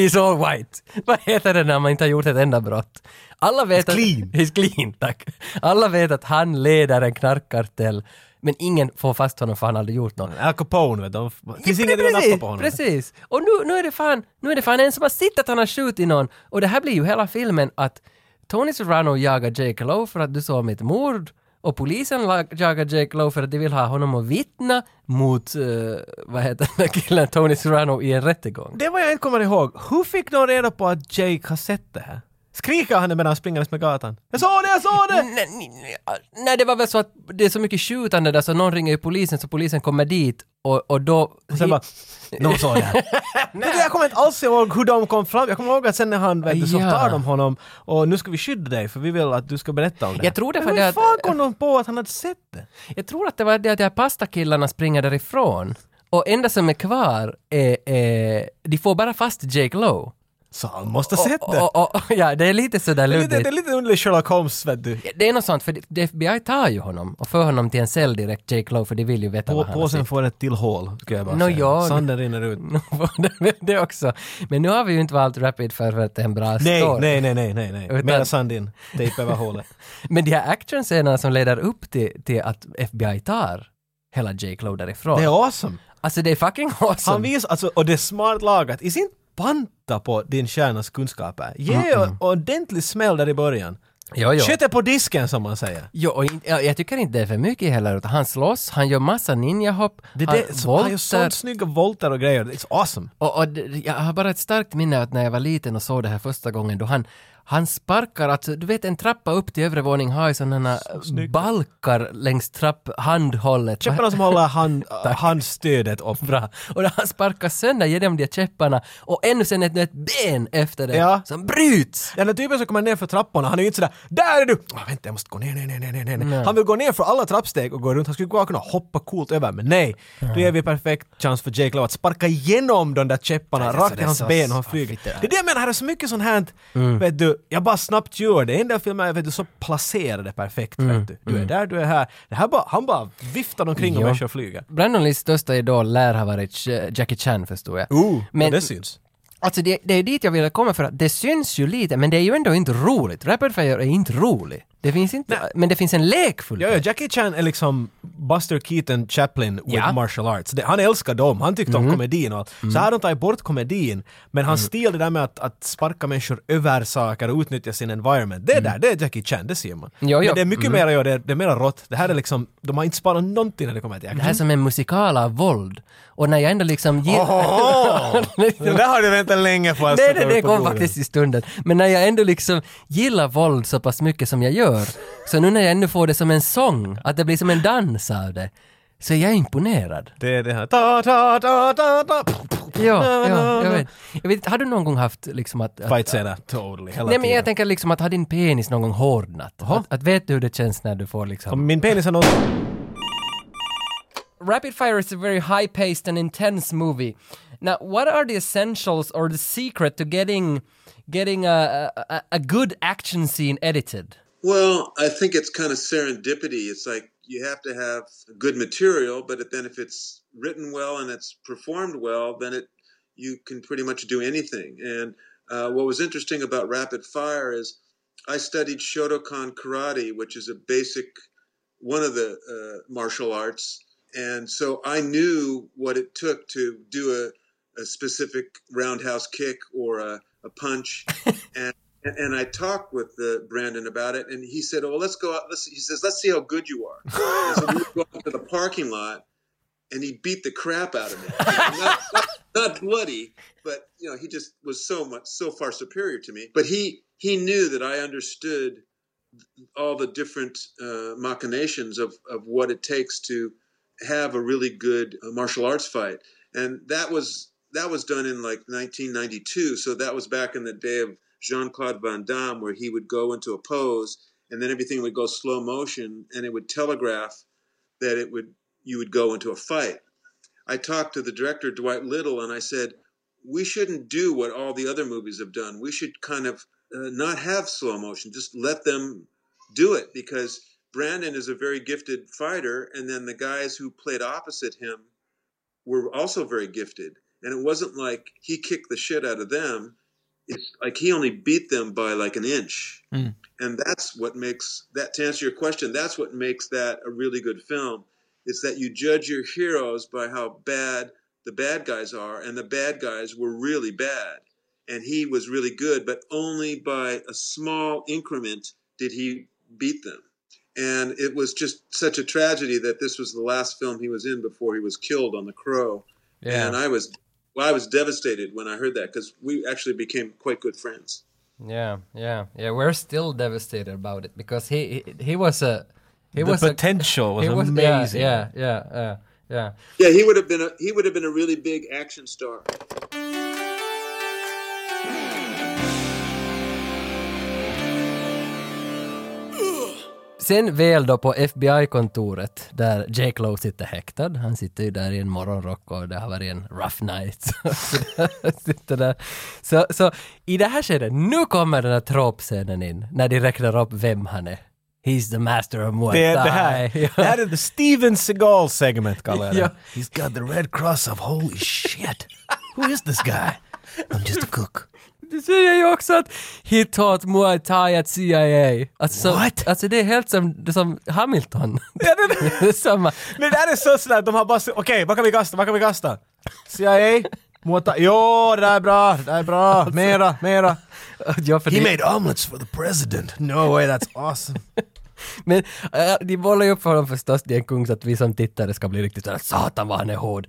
S1: he's all white. Vad heter det när man inte har gjort ett enda brott? Alla vet att,
S2: clean.
S1: He's clean, tack. Alla vet att han leder en knarkkartell, men ingen får fast honom för han har aldrig gjort något.
S2: Al Capone vet du, det finns
S1: Ja,
S2: inget att nappa på honom.
S1: Precis! Och nu, nu, är det fan, nu är det fan en som har sett att han har skjutit någon. Och det här blir ju hela filmen att Tony Serrano jagar Jake Lowe för att du såg mitt mord. Och polisen la- jagar Jake Lowe för att de vill ha honom att vittna mot, eh, vad heter den där killen, Tony Serrano i en rättegång.
S2: Det var jag inte kommer ihåg. Hur fick någon reda på att Jake har sett det här? Skriker han medan han springandes med gatan? Jag såg det, jag såg det!
S1: Nej, nej, nej, Nej, det var väl så att det är så mycket skjutande där så någon ringer ju polisen så polisen kommer dit och, och då...
S2: Och sen bara, någon såg det här. Men jag kommer inte alls ihåg hur de kom fram. Jag kommer ihåg att sen när han, vet du, så
S1: Ja.
S2: tar de honom och nu ska vi skydda dig för vi vill att du ska berätta om det här.
S1: Jag tror det
S2: Men
S1: för
S2: hur
S1: det att-
S2: fan kom de på att han hade sett det?
S1: Jag tror att det var det att de här pastakillarna springer därifrån. Och enda som är kvar är, är de får bara fast Jake Lowe.
S2: Så han måste ha sett
S1: Och,
S2: det.
S1: och, och, ja, det är lite sådär
S2: Det är lite,
S1: luddigt.
S2: det är lite underlig Sherlock Holmes vet du.
S1: Det är något sånt, för det- FBI tar ju honom och för honom till en cell direkt, Jake Lowe, för de vill ju veta
S2: På,
S1: vad han har
S2: påsen
S1: sett.
S2: får ett till hål, skulle jag bara
S1: Nå,
S2: säga.
S1: ja.
S2: Sanden rinner ut.
S1: Det- det också. Men nu har vi ju inte valt Rapid Fire för att det är en bra
S2: Nej,
S1: story.
S2: nej, nej, nej, nej, nej.
S1: Utan-
S2: Mera sand in. Tejp över hålet.
S1: Men de här actionscenerna som leder upp till, till att FBI tar hela Jake Lowe därifrån.
S2: Det är awesome.
S1: alltså det är fucking awesome.
S2: Han visar, alltså, och det är smart lagat. I sin panta på din kärnas kunskaper. Ge en ordentlig smäll där i början.
S1: jo, jo.
S2: Köttet på disken som man säger.
S1: Jo, och in, ja, jag tycker inte det är för mycket heller. utan Han slåss, han gör massa ninjahopp,
S2: Det,
S1: han
S2: det, så, han gör
S1: voltar.
S2: sånt snygga volter och grejer. It's awesome.
S1: Och, och det- jag har bara ett starkt minne att när jag var liten och såg det här första gången då han han sparkar, alltså, du vet en trappa upp till övre våning har ju sådana balkar längs trapphandhållet.
S2: Köper någon som håller hand, handstödet upp.
S1: Bra. Och när han sparkar sönder genom de käpparna och ännu sen ett, ett ben efter det
S2: Ja.
S1: som bryts.
S2: Den där typen som kommer ner för trapporna, han är ju inte sådär ”Där är du!” Ah, ”Vänta, jag måste gå ner, ner, ner, ner, ner, ner.
S1: Nej.
S2: Han vill gå ner för alla trappsteg och gå runt. Han skulle bara kunna hoppa coolt över, men nej. Då ger vi perfekt chans för Jake Lowe att sparka igenom de där käpparna
S1: Nej,
S2: rakt
S1: så
S2: i
S1: det är
S2: hans
S1: så- ah,
S2: ben och han
S1: så
S2: flyger.
S1: fitter.
S2: Det är det jag menar, här är så mycket sånt här,
S1: Mm.
S2: vet du, jag bara snabbt gör det. I en del filmer är vet du, så placerade perfekt,
S1: Mm.
S2: vet du. Du är där, du är här. Det här bara, han bara viftar omkring och
S1: Ja.
S2: människor flyger.
S1: Brandon Lees största idol lär ha varit eh, Jackie Chan förstår jag.
S2: Ooh,
S1: Uh. Men-
S2: men, det syns.
S1: Alltså det, det är dit jag ville komma för att det syns ju lite men det är ju ändå inte roligt. Rapid Fire är inte rolig. Det finns inte, men det finns en lekfull
S2: Ja, ja, Jackie Chan är liksom Buster Keaton Chaplin with
S1: Ja.
S2: martial arts. Det, han älskar dem, han tyckte om komedin och allt. Så här har de tagit bort komedin, men hans stil, det där med att, att sparka människor över saker och utnyttja sin environment, det där, det är Jackie Chan, det ser man.
S1: Ja, ja.
S2: Men det är mycket mer, Mm. ja, Mm. det, är- det är mer rått. Det här är liksom, de har inte sparat någonting när det kommer
S1: Det
S2: till action.
S1: här är som en musikal av våld. Och när jag ändå liksom gillar...
S2: Det där har du väntat länge på. alltså, att
S1: Nej,
S2: sätta
S1: nej,
S2: upp
S1: det
S2: på
S1: kom
S2: bordet.
S1: faktiskt i stunden. Men när jag ändå liksom gillar våld så pass mycket som jag gör gör. Så nu när jag ännu får det som en sång, att det blir som en dans av det, så är jag imponerad.
S2: Det är det här ta ta ta ta ta
S1: Ja, ja jag, vet. jag vet. Har du någon gång haft liksom att... att
S2: Fightscener, totally, hela
S1: nej men jag
S2: tiden.
S1: tänker liksom att har din penis någon gång hårdnat? Att, att vet du hur det känns när du får liksom...
S2: Om min penis har något...
S1: Rapid Fire is a very high paced and intense movie. Now, what are the essentials or the secret to getting getting a a, a good action scene edited?
S3: Well, I think it's kind of serendipity. It's like you have to have good material, but then if it's written well and it's performed well, then it you can pretty much do anything. And uh, what was interesting about Rapid Fire is I studied Shotokan karate, which is a basic one of the uh, martial arts, and so I knew what it took to do a, a specific roundhouse kick or a, a punch, and and- and I talked with uh, Brandon about it, and he said, "Oh, well, let's go out." Let's, he says, "Let's see how good you are." And so we go out to the parking lot, and he beat the crap out of me. not, not, not bloody, but you know, he just was so much so far superior to me. But he he knew that I understood all the different uh, machinations of of what it takes to have a really good uh, martial arts fight, and that was that was done in like 1992. So that was back in the day of Jean Claude Van Damme, where he would go into a pose, and then everything would go slow motion, and it would telegraph that it would you would go into a fight. I talked to the director Dwight Little, and I said we shouldn't do what all the other movies have done. We should kind of uh, not have slow motion. Just let them do it because Brandon is a very gifted fighter, and then the guys who played opposite him were also very gifted. And it wasn't like he kicked the shit out of them. It's like he only beat them by like an inch.
S2: Mm.
S3: And that's what makes that, to answer your question, that's what makes that a really good film. It's that you judge your heroes by how bad the bad guys are, and the bad guys were really bad. And he was really good, but only by a small increment did he beat them. And it was just such a tragedy that this was the last film he was in before he was killed on The Crow. And I was, well, I was devastated when I heard that because we actually became quite good friends.
S1: Yeah, yeah, yeah. We're still devastated about it because he he, he was a he
S2: The
S1: was a,
S2: potential was,
S1: he was
S2: amazing.
S1: Yeah, yeah, yeah, yeah. yeah.
S3: Yeah, he would have been a he would have been a really big action star.
S1: Sen väl då på FBI-kontoret där Jake Lowe sitter häktad. Han sitter ju där i en morgonrock och det har varit en rough night. Han sitter där. Så, så i det här skedet, nu kommer den här tropscenen in när de räknar upp vem han är. He's the master of muay
S2: Det, är-
S1: thai.
S2: det, här, det här är the Steven Seagal segment kallar jag det.
S1: Ja.
S2: He's got the red cross of holy shit. Who is this guy? I'm just a cook.
S1: Det säger ju också att he taught muay thai at CIA. Alltså,
S2: What?
S1: alltså det är helt som, som Hamilton. det är samma.
S2: Men det här är så sådär, de har bara så- okej, vad kan vi kasta, vad kan vi kasta? CIA? Mota, jo, det där är bra, det där är bra, mera, mera.
S1: Ja, för det-
S2: made omelets for the president. No way, that's awesome.
S1: Men äh, de bollar ju upp honom förstås, det är en kung så att vi som tittare ska bli riktigt såhär ”Satan vad han är hård”.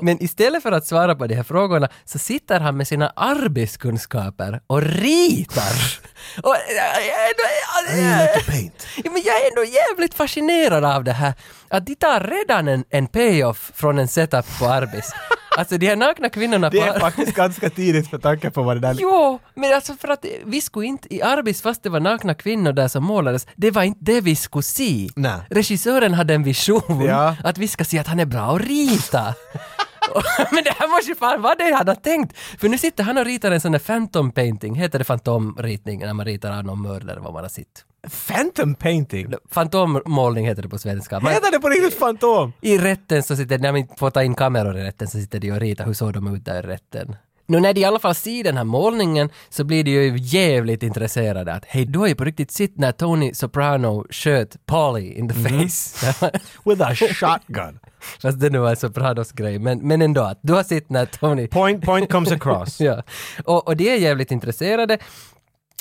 S1: Men istället för att svara på de här frågorna så sitter han med sina arbetskunskaper och ritar. och, äh, jag är ändå-
S2: paint.
S1: Ja, men jag är ändå jävligt fascinerad av det här. Att de tar redan en, en payoff från en setup på Arbis. Alltså de här nakna kvinnorna
S2: Det
S1: på
S2: är faktiskt ganska tidigt med tanke på vad det där
S1: Jo, men alltså för att vi skulle inte, i Arbis fast det var nakna kvinnor där som målades, det var inte det vi skulle se.
S2: Nej.
S1: Regissören hade en vision
S2: Ja.
S1: att vi ska se att han är bra att rita. Och- men det här måste ju fan vara det han har tänkt. För nu sitter han och ritar en sån där phantom painting, heter det fantomritning när man ritar av någon mördare vad man har sett?
S2: Phantom painting?
S1: Fantommålning heter det på svenska. Man,
S2: Heter det på riktigt fantom?
S1: I rätten så sitter, när man inte får ta in kameror i rätten så sitter de och ritar, hur såg de ut där i rätten? Nu när de i alla fall ser den här målningen så blir de ju jävligt intresserade att hej, du har ju på riktigt sett när Tony Soprano sköt Polly in the face.
S2: Mhm. With a shotgun.
S1: Fast det nu var Sopranos grej, men, men ändå att du har sett när Tony...
S2: Point, point comes across.
S1: Ja. Och, och de är jävligt intresserade.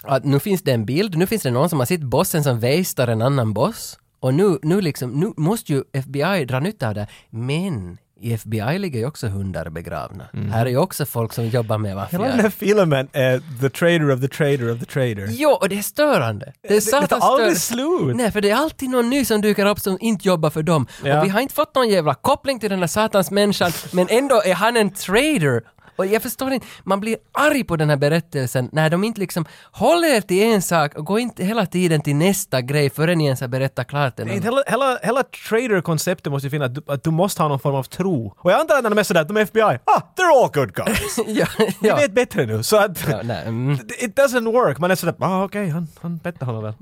S1: Att nu finns det en bild, nu finns det någon som har sett bossen som västar en annan boss. Och nu, nu liksom, nu måste ju FBI dra nytta av det. Men I FBI ligger ju också hundar begravna. Här är ju också folk som jobbar med
S2: Mm. Hela den här
S1: maffian.
S2: filmen är the trader of the trader of the trader.
S1: Jo, och det är störande. Det är
S2: det tar
S1: satans
S2: aldrig
S1: störande.
S2: slut!
S1: Nej, för det är alltid någon ny som dyker upp som inte jobbar för dem.
S2: Ja.
S1: Och vi har inte fått någon jävla koppling till den här satans människan, men ändå är han en trader. Och jag förstår inte, man blir arg på den här berättelsen när de inte liksom håller er till en sak och går inte hela tiden till nästa grej förrän ni ens har berättat klart den.
S2: Inte Hela, hela, hela trader-konceptet måste ju finnas, att du, att du måste ha någon form av tro. Och jag antar att när de är sådär, de är FBI, ah, they're all good guys.
S1: ja,
S2: Vi
S1: ja.
S2: vet bättre nu, så att...
S1: Ja, nej, mm.
S2: It doesn't work. Man är sådär, ah, okej, han, han bättre honom väl.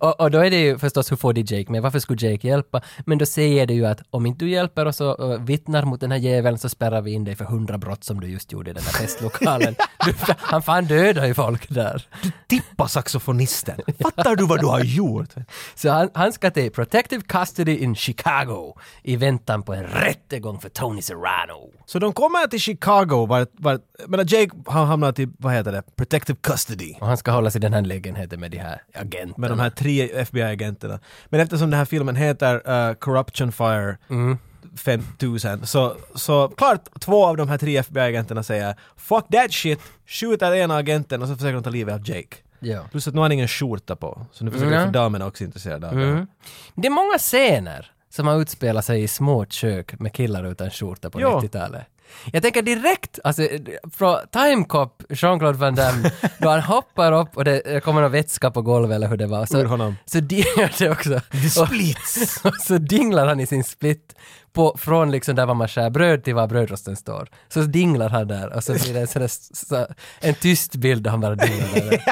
S1: och, och då är det ju förstås, hur får de Jake med? Varför skulle Jake hjälpa? Men då säger det ju att om inte du hjälper oss och eh, vittnar mot den här djävulen så spärrar vi in dig för hundra brott som du just gjorde i den där festlokalen. du, han fan dödar ju folk där.
S2: Tippa saxofonisten. Fattar du vad du har gjort?
S1: Så han, han ska till Protective Custody in Chicago i väntan på en rättegång för Tony Serrano.
S2: Så de kommer till Chicago, vart, vart, men Jake har hamnat i, vad heter det, protective custody.
S1: Och han ska hålla sig i den här lägenheten med de här agenterna.
S2: Med de här tre FBI-agenterna. Men eftersom den här filmen heter eh, Corruption Fire
S1: Mm.
S2: 5000 så, så klart två av de här tre FBI-agenterna säger “Fuck that shit” skjuter ena agenten och så försöker de ta livet av Jake.
S1: Ja.
S2: Plus att nu har han ingen skjorta på, så nu försöker
S1: Mm.
S2: för damerna också intresserad av det.
S1: Det är många scener som har utspelat sig i små kök med killar utan skjorta på
S2: Ja.
S1: 90-talet. Jag tänker direkt, alltså från Time Cop, Jean-Claude Van Damme, då han hoppar upp och det kommer någon vätska på golvet eller hur det var. Så,
S2: Ur honom.
S1: så di- det också. Och-
S2: splits!
S1: och så dinglar han i sin split på, från liksom där var man skär bröd till var brödrosten står. Så dinglar han där och så blir det en, sån där, s- så, en tyst bild där han bara dinglar där.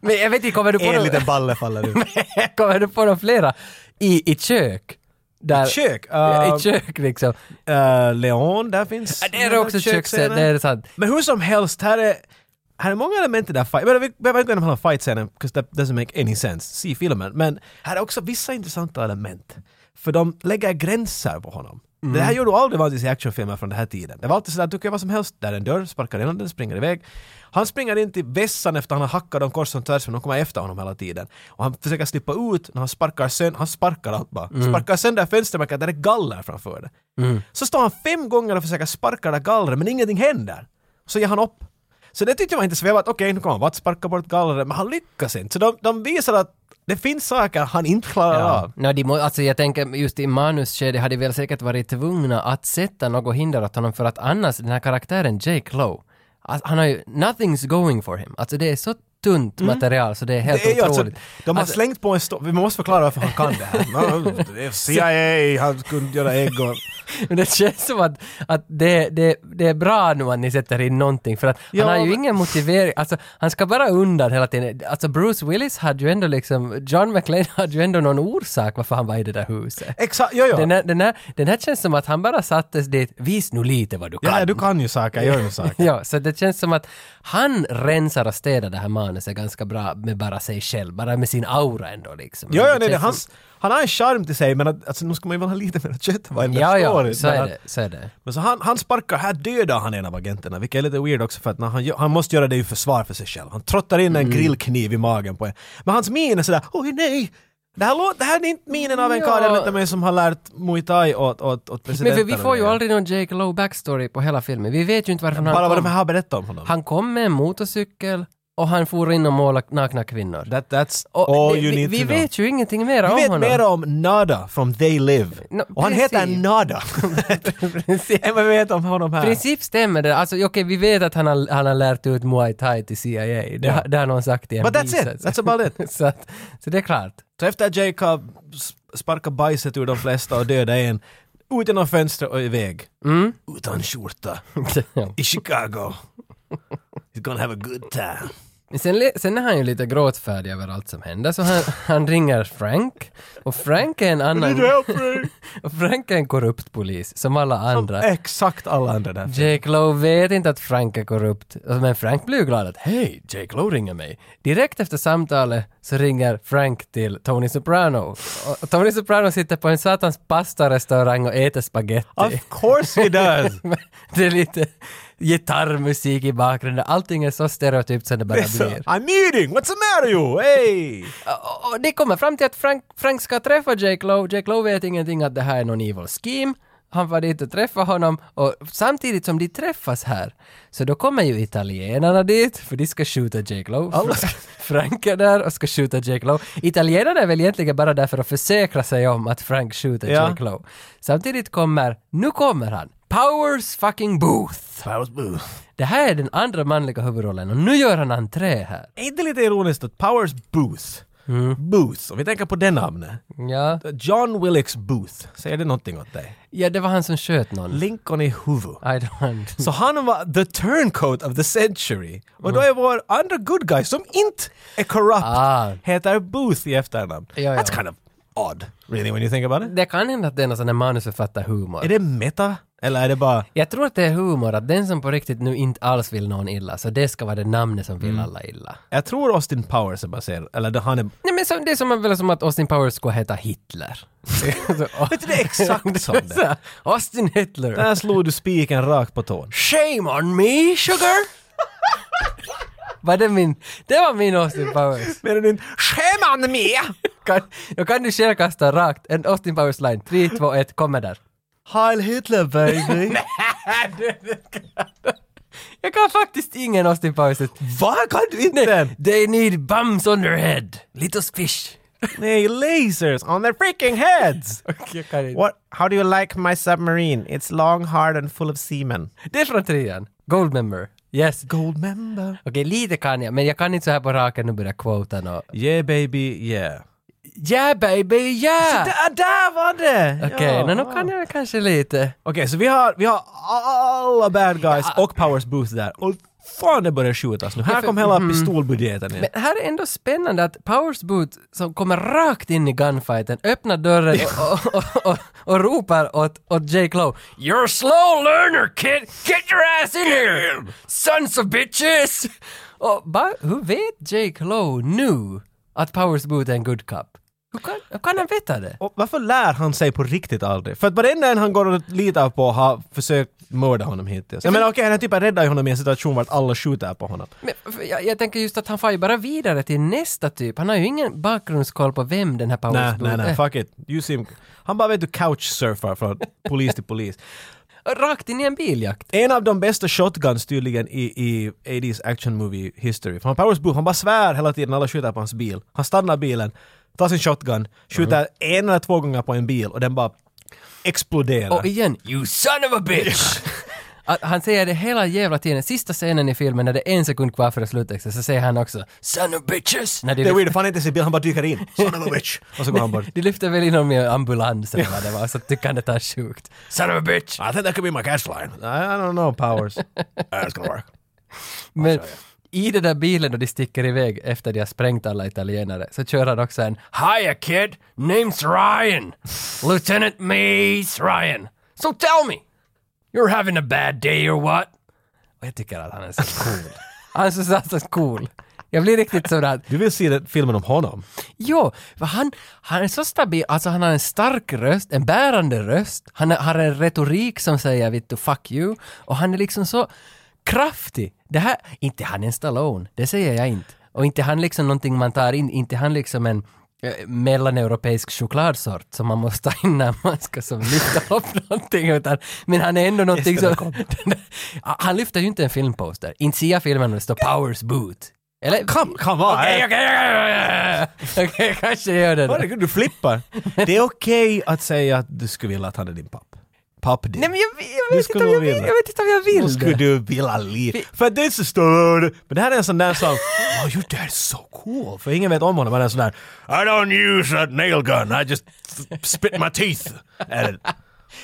S1: Men jag vet inte, kommer du på
S2: En
S1: några,
S2: liten balle faller ut.
S1: kommer du på några flera i, i kök? Där,
S2: Kök!
S1: Ja,
S2: Uh,
S1: I kök liksom.
S2: eh, Leon, där finns...
S1: Ja, det är också köksscenen. Det är sant.
S2: Men hur som helst, här är, här är många element i den här fight. Jag menar, vi behöver inte gå igenom hela fight-scenen, because that doesn't make any sense. Se filmen. Men här är också vissa intressanta element. För de lägger gränser på honom. Det här gjorde du aldrig vanligtvis i actionfilmer från den här tiden. Det var alltid sådär, du kan göra vad som helst. Där är en dörr, sparkar in den, springer iväg. Han springer in till vässan efter han har hackat dem kors och tvärs, men de kommer efter honom hela tiden. Och han försöker slippa ut, när han sparkar sönder, han sparkar allt bara.
S1: Mm.
S2: Sparkar sönder fönstermärket, där det är galler framför det. Så står han fem gånger och försöker sparka det där gallret, men ingenting händer. Så ger han upp. Så det tyckte man inte så vi var att okej, nu kommer han bara att sparka bort gallret, men han lyckas inte. Så de, de visar att det finns saker han inte klarar
S1: Ja.
S2: av.
S1: No, de må, alltså jag tänker just i manusskedet hade väl säkert varit tvungna att sätta något hinder åt honom för att annars den här karaktären Jake Lowe, alltså, han har ju nothing's going for him. Alltså det är så tunt material så det är helt
S2: Mm. Det är ju alltså,
S1: otroligt.
S2: de har
S1: Alltså,
S2: slängt på en stor... Vi måste förklara varför han kan det här. No, det är CIA, han kunde göra ägg och...
S1: men det känns som att, att det, det, det är bra nu att ni sätter in någonting för att
S2: Ja,
S1: han har ju
S2: men-
S1: ingen motivering, alltså han ska bara undan hela tiden. Alltså Bruce Willis hade ju ändå liksom, John McClane hade ju ändå någon orsak varför han var i det där huset.
S2: Exakt, jo, jo.
S1: Den här, den, här, den här känns som att han bara sattes dit, vis nu lite vad du kan.
S2: Ja, ja, du kan ju saker, gör ju saker.
S1: Ja, så det känns som att han rensar och städar det här manuset ganska bra med bara sig själv, bara med sin aura ändå liksom.
S2: Jo, jo,
S1: Det
S2: nej, det,
S1: känns
S2: hans, han har en charm till sig, men att, alltså, nu ska man ju väl ha lite mer kött vad än
S1: som-
S2: den
S1: Ja, ja,
S2: storyn,
S1: så
S2: men
S1: är
S2: att-
S1: det. Så är det.
S2: Men så han, han sparkar, här dödar han en av agenterna, vilket är lite weird också för att när han, gör- han måste göra det i försvar för sig själv. Han trottar in
S1: Mm.
S2: en grillkniv i magen på en. Men hans min är sådär, oj nej! Det här, låter, det här är inte minen av en
S1: Ja.
S2: karl jag mötte mig som har lärt muay thai åt, åt, åt
S1: Men
S2: presidenten.
S1: för vi får ju
S2: och det.
S1: aldrig någon Jake Lowe backstory på hela filmen. Vi vet ju inte varför
S2: Bara vad
S1: han
S2: de
S1: kom.
S2: här har berättat om honom.
S1: Han kom med en motorcykel och han for in och målade nakna kvinnor.
S2: That, that's
S1: Och
S2: all
S1: det-
S2: you
S1: vi
S2: need
S1: vi
S2: to know.
S1: vet ju ingenting mer om
S2: vi vet
S1: honom.
S2: mer om Nada från They Live.
S1: No,
S2: och han
S1: precis.
S2: heter Nada.
S1: Precis.
S2: Än vad vi vet om honom här.
S1: I princip stämmer det. Alltså, okej, vi vet att han har, han har lärt ut muay thai till CIA. Det,
S2: Ja.
S1: det har någon sagt i en
S2: But that's it,
S1: bisats.
S2: that's about it.
S1: så, att, så det är klart.
S2: Så efter att Jacob s- sparkar bajset ur de flesta och dödar en, ut genom fönstret och iväg. Utan skjorta.
S1: Ja.
S2: I Chicago. He's gonna have a good time.
S1: Men sen, le- sen är han ju lite gråtfärdig över allt som händer, så han, han ringer Frank. Och Frank är en annan... och Frank är en korrupt polis, som alla andra.
S2: Exakt alla andra där.
S1: Jake Lowe vet inte att Frank är korrupt, men Frank blir ju glad att hej, Jake Lowe ringer mig. Direkt efter samtalet så ringer Frank till Tony Soprano. Och Tony Soprano sitter på en satans pastarestaurang och äter spaghetti.
S2: Of course he does!
S1: det är lite gitarrmusik i bakgrunden, allting är så stereotypt som det bara
S2: Det är så,
S1: blir.
S2: I'm eating! What's the matter you? Hey!
S1: Och- Och det kommer fram till att Frank, Frank ska träffa Jake Lowe. Jake Lowe vet ingenting att det här är någon evil scheme. han var dit och träffade honom och samtidigt som de träffas här så då kommer ju italienarna dit för de ska skjuta Jake Lowe.
S2: Alla
S1: Fra- Frank är där och ska skjuta Jake Lowe. Italienarna är väl egentligen bara där för att försäkra sig om att Frank skjuter
S2: Ja.
S1: Jake Lowe. Samtidigt kommer, nu kommer han, Powers fucking Booth. Det här är den andra manliga huvudrollen och nu gör han entré här.
S2: Är inte lite ironiskt att Powers Booth, Booth, om vi tänker på det namnet,
S1: Ja.
S2: John Wilkes Booth, säger det någonting åt dig?
S1: ja, det var han som sköt någon.
S2: Lincoln i huvud.
S1: I don't...
S2: Så han var the turncoat of the century. Och då är vår andra good guy som inte är corrupt,
S1: Ah.
S2: heter Booth i efternamn.
S1: Ja, ja.
S2: That's kind of odd, really, when you think about it.
S1: Det kan hända att det är någon sån där manusförfattarhumor.
S2: Är det meta? Eller är det bara...
S1: Jag tror att det är humor, att den som på riktigt nu inte alls vill någon illa, så det ska vara det namnet som vill
S2: Mm.
S1: alla illa.
S2: Jag tror Austin Powers är baserad, eller det- han är...
S1: Nej men som, det är som, väl som att Austin Powers skulle heta Hitler. Så,
S2: Vet du, det är exakt som
S1: så
S2: det.
S1: här, Austin Hitler.
S2: Där slog du spiken rakt på tån.
S1: Shame on me sugar! var det min, det var min Austin Powers.
S2: Menar du inte “Skämman med?”
S1: Kan, då kan du själv kasta rakt en Austin Powers line. 3, 2, 1, kommer där.
S2: Heil Hitler baby!
S1: Jag kan faktiskt ingen Austin Powers.
S2: Va? Kan du inte den?
S1: They need bums on their head. Little fish.
S2: Nej, lasers on their freaking heads!
S1: Jag kan inte.
S2: What? How do you like my submarine? It's long, hard and full of semen.
S1: Det är från trean. Goldmember. Yes.
S2: Gold member.
S1: Okej, lite kan jag, men jag kan inte så här på raken och börja quota nå.
S2: Yeah baby, yeah.
S1: Yeah baby, yeah!
S2: Där, där var det!
S1: Okej, men nu kan jag kanske lite.
S2: Okej, så vi har, vi har alla bad guys och Powers Booth där. Och fan det börjar skjutas nu. Här kom hela pistolbudgeten in.
S1: Mhm. Men här är ändå spännande att Powers Boot som kommer rakt in i gunfighten öppnar dörren och, och, och, och, och ropar åt, åt Jake Lowe “You're a slow learner kid! Get your ass in here! Sons of bitches!” Och ba, hur vet Jake Lowe nu att Powers Boot är en good cop? Hur kan, hur kan han veta det?
S2: Och varför lär han sig på riktigt aldrig? För att varenda en han går och litar på har försökt mörda honom hittills. Jag menar okej, han är typ räddar honom i en situation vart alla skjuter på honom.
S1: Men, för jag, jag tänker just att han far ju bara vidare till nästa typ. Han har ju ingen bakgrundskoll på vem den här Powers
S2: Nej,
S1: Booth
S2: nej, nej,
S1: är.
S2: fuck it. You seem... Han bara vet du couchsurfar från polis till polis.
S1: Rakt in i en biljakt.
S2: En av de bästa shotguns tydligen i, i 80s action movie history. För han Powers Booth, han bara svär hela tiden, alla skjuter på hans bil. Han stannar bilen, tar sin shotgun, skjuter en eller två gånger på en bil och den bara exploderar.
S1: Och igen, you son of a bitch! Att han säger det hela jävla tiden. Sista scenen i filmen när det är en sekund kvar före sluttexten så säger han också “Son of bitches!” när de,
S2: det är
S1: lyfter,
S2: weird, för han är inte i sin bil, han bara dyker in. Son of a bitch! Och så går han bort.
S1: de lyfter väl in honom i en ambulans eller vad det var så tycker han det är sjukt. “Son of a bitch!”
S2: I think that could be my cash line. I, I don't know, Powers. That's gonna work.
S1: Men i den där bilen då de sticker iväg efter de har sprängt alla italienare så kör han också en “Hiya kid! Name's Ryan! Lieutenant Mace Ryan! So tell me! You're having a bad day or what?” Och jag tycker att han är så cool. Han är så satans cool. Jag blir riktigt sådär att
S2: Du vill se den filmen om honom?
S1: Jo, för han, han är så stabil, alltså han har en stark röst, en bärande röst, han har- har en retorik som säger vittu fuck you och han är liksom så kraftig. Det här, inte han är en Stallone, det säger jag inte. Och inte han liksom någonting man tar in, inte han liksom en eh, mellaneuropeisk chokladsort som man måste ta in när man ska som lyfta upp någonting utan, men han är ändå någonting som... han lyfter ju inte en filmposter, inte ser jag filmen och det står Powers Boot. Eller,
S2: Come, come on!
S1: Okej, okej, okej, okej, okej, kanske jag gör det då.
S2: Herregud, du flippar! Det är okej att säga att du skulle vilja att han är din papp. Papp din.
S1: Nej men jag, jag,
S2: Du
S1: vet inte
S2: skulle
S1: om jag,
S2: vilja.
S1: vill, jag vet inte om jag
S2: Då
S1: vill
S2: skulle
S1: det.
S2: du vilja lira. För det är så stort. Men det här är en sån där som, oh your dad's so cool. För ingen vet om honom, men det är en sån där, I don't use a nail gun, I just spit my teeth. Eller,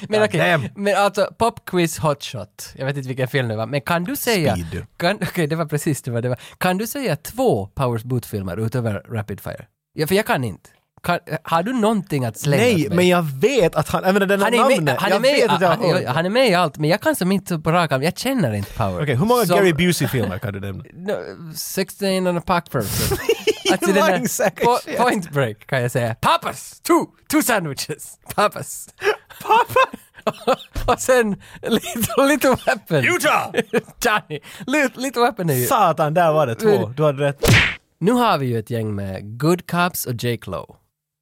S1: Men okej,
S2: Damn.
S1: men alltså popquiz hotshot. Jag vet inte vilken film det var, men kan du säga...
S2: Speed.
S1: Kan, okej, det var precis det var, det var. Kan du säga två Powers Boot-filmer utöver Rapid Fire? Ja, för jag kan inte. Kan, har du någonting att slänga åt
S2: Nej,
S1: mig?
S2: men jag vet att han, jag menar den här
S1: han är, med,
S2: namnet,
S1: han, är
S2: jag
S1: med, i-
S2: vet att jag har
S1: han,
S2: hört.
S1: han är med i allt, men jag kan som inte på rak arm, jag känner inte Power.
S2: Okej, hur många
S1: Som-
S2: Gary Busey-filmer kan du nämna?
S1: No, 16 and a pack person.
S2: You
S1: den där-
S2: lying sack of
S1: po-
S2: shit.
S1: Point break kan jag säga. Pappas! Two! Two sandwiches! Pappas! Pappa! och sen Little, little Weapon.
S2: Utah!
S1: Johnny! Little, little Weapon är ju...
S2: Satan, där var det två. Du hade rätt.
S1: Nu har vi ju ett gäng med Good Cops och Jake Lowe.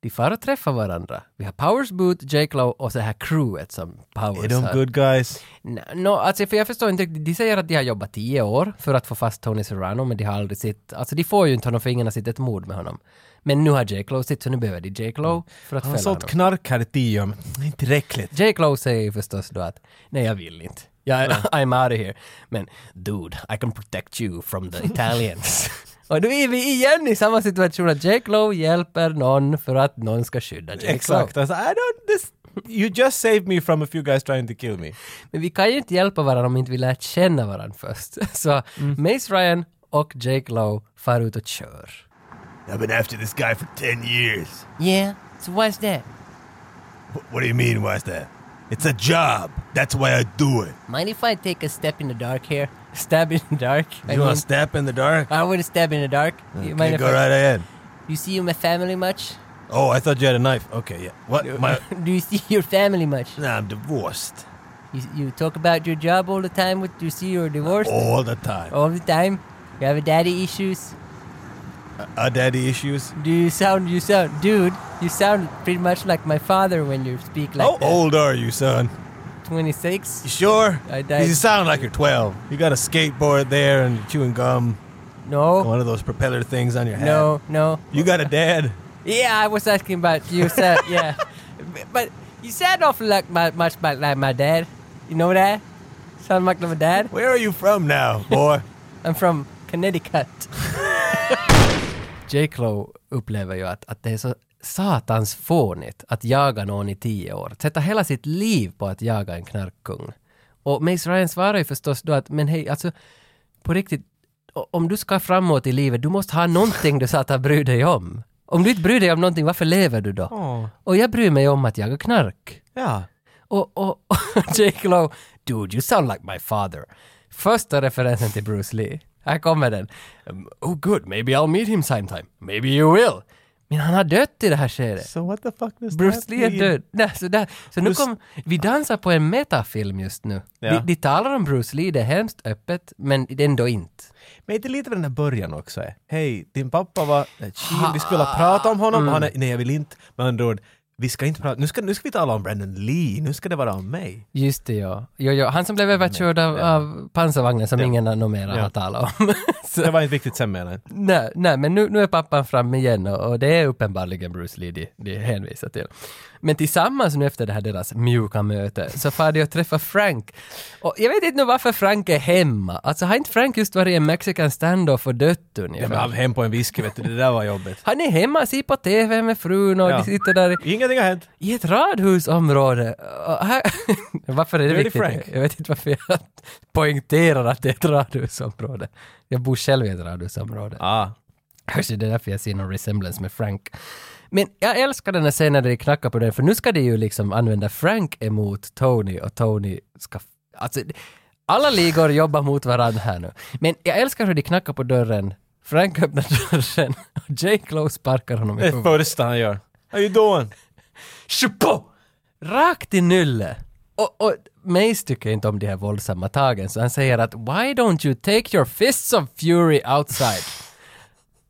S1: de far och träffar varandra. Vi har Powers Boot, J. Clow och så här crewet som Powers
S2: Är de
S1: har.
S2: good guys?
S1: No, no, alltså för jag förstår inte riktigt. De säger att de har jobbat tio år för att få fast Tony Serrano, men de har aldrig sett... Alltså de får ju inte honom för ingen har sett ett mord med honom. Men nu har J. Clow sitt, så nu behöver de J. Clow för att
S2: Mm. Han har
S1: fälla
S2: sålt
S1: honom.
S2: knark här i tio år, men inte tillräckligt.
S1: J. Clow säger ju förstås då att nej, jag vill inte. Jag, I'm out of here. Men dude, I can protect you from the Italians. Och då är vi igen i samma situation att J. Clow hjälper någon för att någon ska skydda J. Clow.
S2: Exakt. Alltså, I don't, this, you just saved me from a few guys trying to kill me.
S1: Men vi kan ju inte hjälpa varandra om inte vi lär känna varandra först. Så
S4: Mm.
S1: Mace Ryan och Jake Lowe far ut och kör.
S4: I've been after this guy for 10 years.
S1: Yeah, so what's that?
S4: Wh- What do you mean, why's that? It's a job. That's why I do it.
S1: Mind if I take a step in the dark here? Stab in the dark? I
S4: You
S1: mean,
S4: want to step in the dark?
S1: I want to stab in the dark. Uh, You, mind
S4: Okay,
S1: if
S4: go
S1: I-
S4: right ahead.
S1: you see my family much?
S4: Oh, I thought you had a knife. Okay, yeah. What? My,
S1: Do you see your family much?
S4: nah, I'm divorced.
S1: You, you talk about your job all the time with you see you're divorced
S4: All the time.
S1: all the time. You have daddy issues.
S4: Our daddy issues.
S1: Do you sound you sound dude? You sound pretty much like my father when you speak like
S4: How
S1: that.
S4: old are you, son?
S1: 26.
S4: You sure?
S1: I died.
S4: You sound like you're 12. You got a skateboard there and you're chewing gum.
S1: No,
S4: One of those propeller things on your head.
S1: no, no.
S4: You got a dad.
S1: Yeah, I was asking about you, sir. yeah, But- but you sound awful like my, much about like my dad. You know that? Sound like my dad.
S4: Where are you from now, boy?
S1: I'm from Connecticut. J. Clow upplever ju att, att det är så satans fånigt att jaga någon i tio år. Att Sätta hela sitt liv på att jaga en knarkkung. Och Mace Ryan svarar ju förstås då att men hej, alltså på riktigt, o- om du ska framåt i livet, du måste ha någonting du satan bryr dig om. Om du inte bryr dig om någonting, varför lever du då?
S2: Åh.
S1: Och jag bryr mig om att jaga knark.
S2: Ja.
S1: Och, och, och Jake Lowe, dude you sound like my father. Första referensen till Bruce Lee. Här kommer den. Um, oh good, maybe I'll meet him sometime. Maybe you will. Men han har dött i det här skedet.
S2: So what the fuck does
S1: Bruce
S2: that
S1: Lee är
S2: mean?
S1: död. Nej, så där. så nu
S2: Bruce-
S1: kom, vi dansar på en metafilm just nu.
S2: Ja.
S1: De, de talar om Bruce Lee, det är hemskt öppet, men det är ändå inte.
S2: Men inte lite med den där början också? eh? Hej, din pappa var eh, chill, vi skulle prata om honom, han är, nej jag vill inte. Med andra ord, vi ska inte prata, nu ska, nu ska vi tala om Brandon Lee, nu ska det vara om mig.
S1: Just det, ja. Jo, jo. Han som blev överkörd av, av pansarvagnen som ingen annan numera
S2: Ja.
S1: har talat om. Så-
S2: Det var inte viktigt sen menar jag.
S1: Nej, nej men nu, nu är pappan fram igen och, och det är uppenbarligen Bruce Lee de, de hänvisar till. Men tillsammans nu efter det här deras mjuka möte så far de och träffar Frank. Och jag vet inte nu varför Frank är hemma. Alltså har inte Frank just varit i en mexican standoff och dött
S2: Ja,
S1: ungefär?
S2: men han hem på en whisky vet du, det där var jobbigt.
S1: han är hemma, ser på TV med frun och
S2: Ja.
S1: de sitter där i,
S2: Ingenting har hänt.
S1: i ett radhusområde. Och här, varför är det
S2: är det
S1: viktigt?
S2: Frank.
S1: Jag vet inte varför jag poängterar att det är ett radhusområde. Jag bor själv i ett radhusområde.
S2: Ah.
S1: Kanske det är därför jag ser någon resemblance med Frank. Men jag älskar den här scenen där de knackar på den, för nu ska de ju liksom använda Frank emot Tony och Tony ska... Alltså, alla ligor jobbar mot varandra här nu. Men jag älskar hur de knackar på dörren. Frank öppnar dörren och Jake Lowe sparkar honom i
S2: Det är det
S1: huvudet.
S2: första han gör. How you doing?
S1: Tjopo! Rakt i nylle! Och, och Mace tycker inte om de här våldsamma tagen, så han säger att “Why don't you take your fists of fury outside?”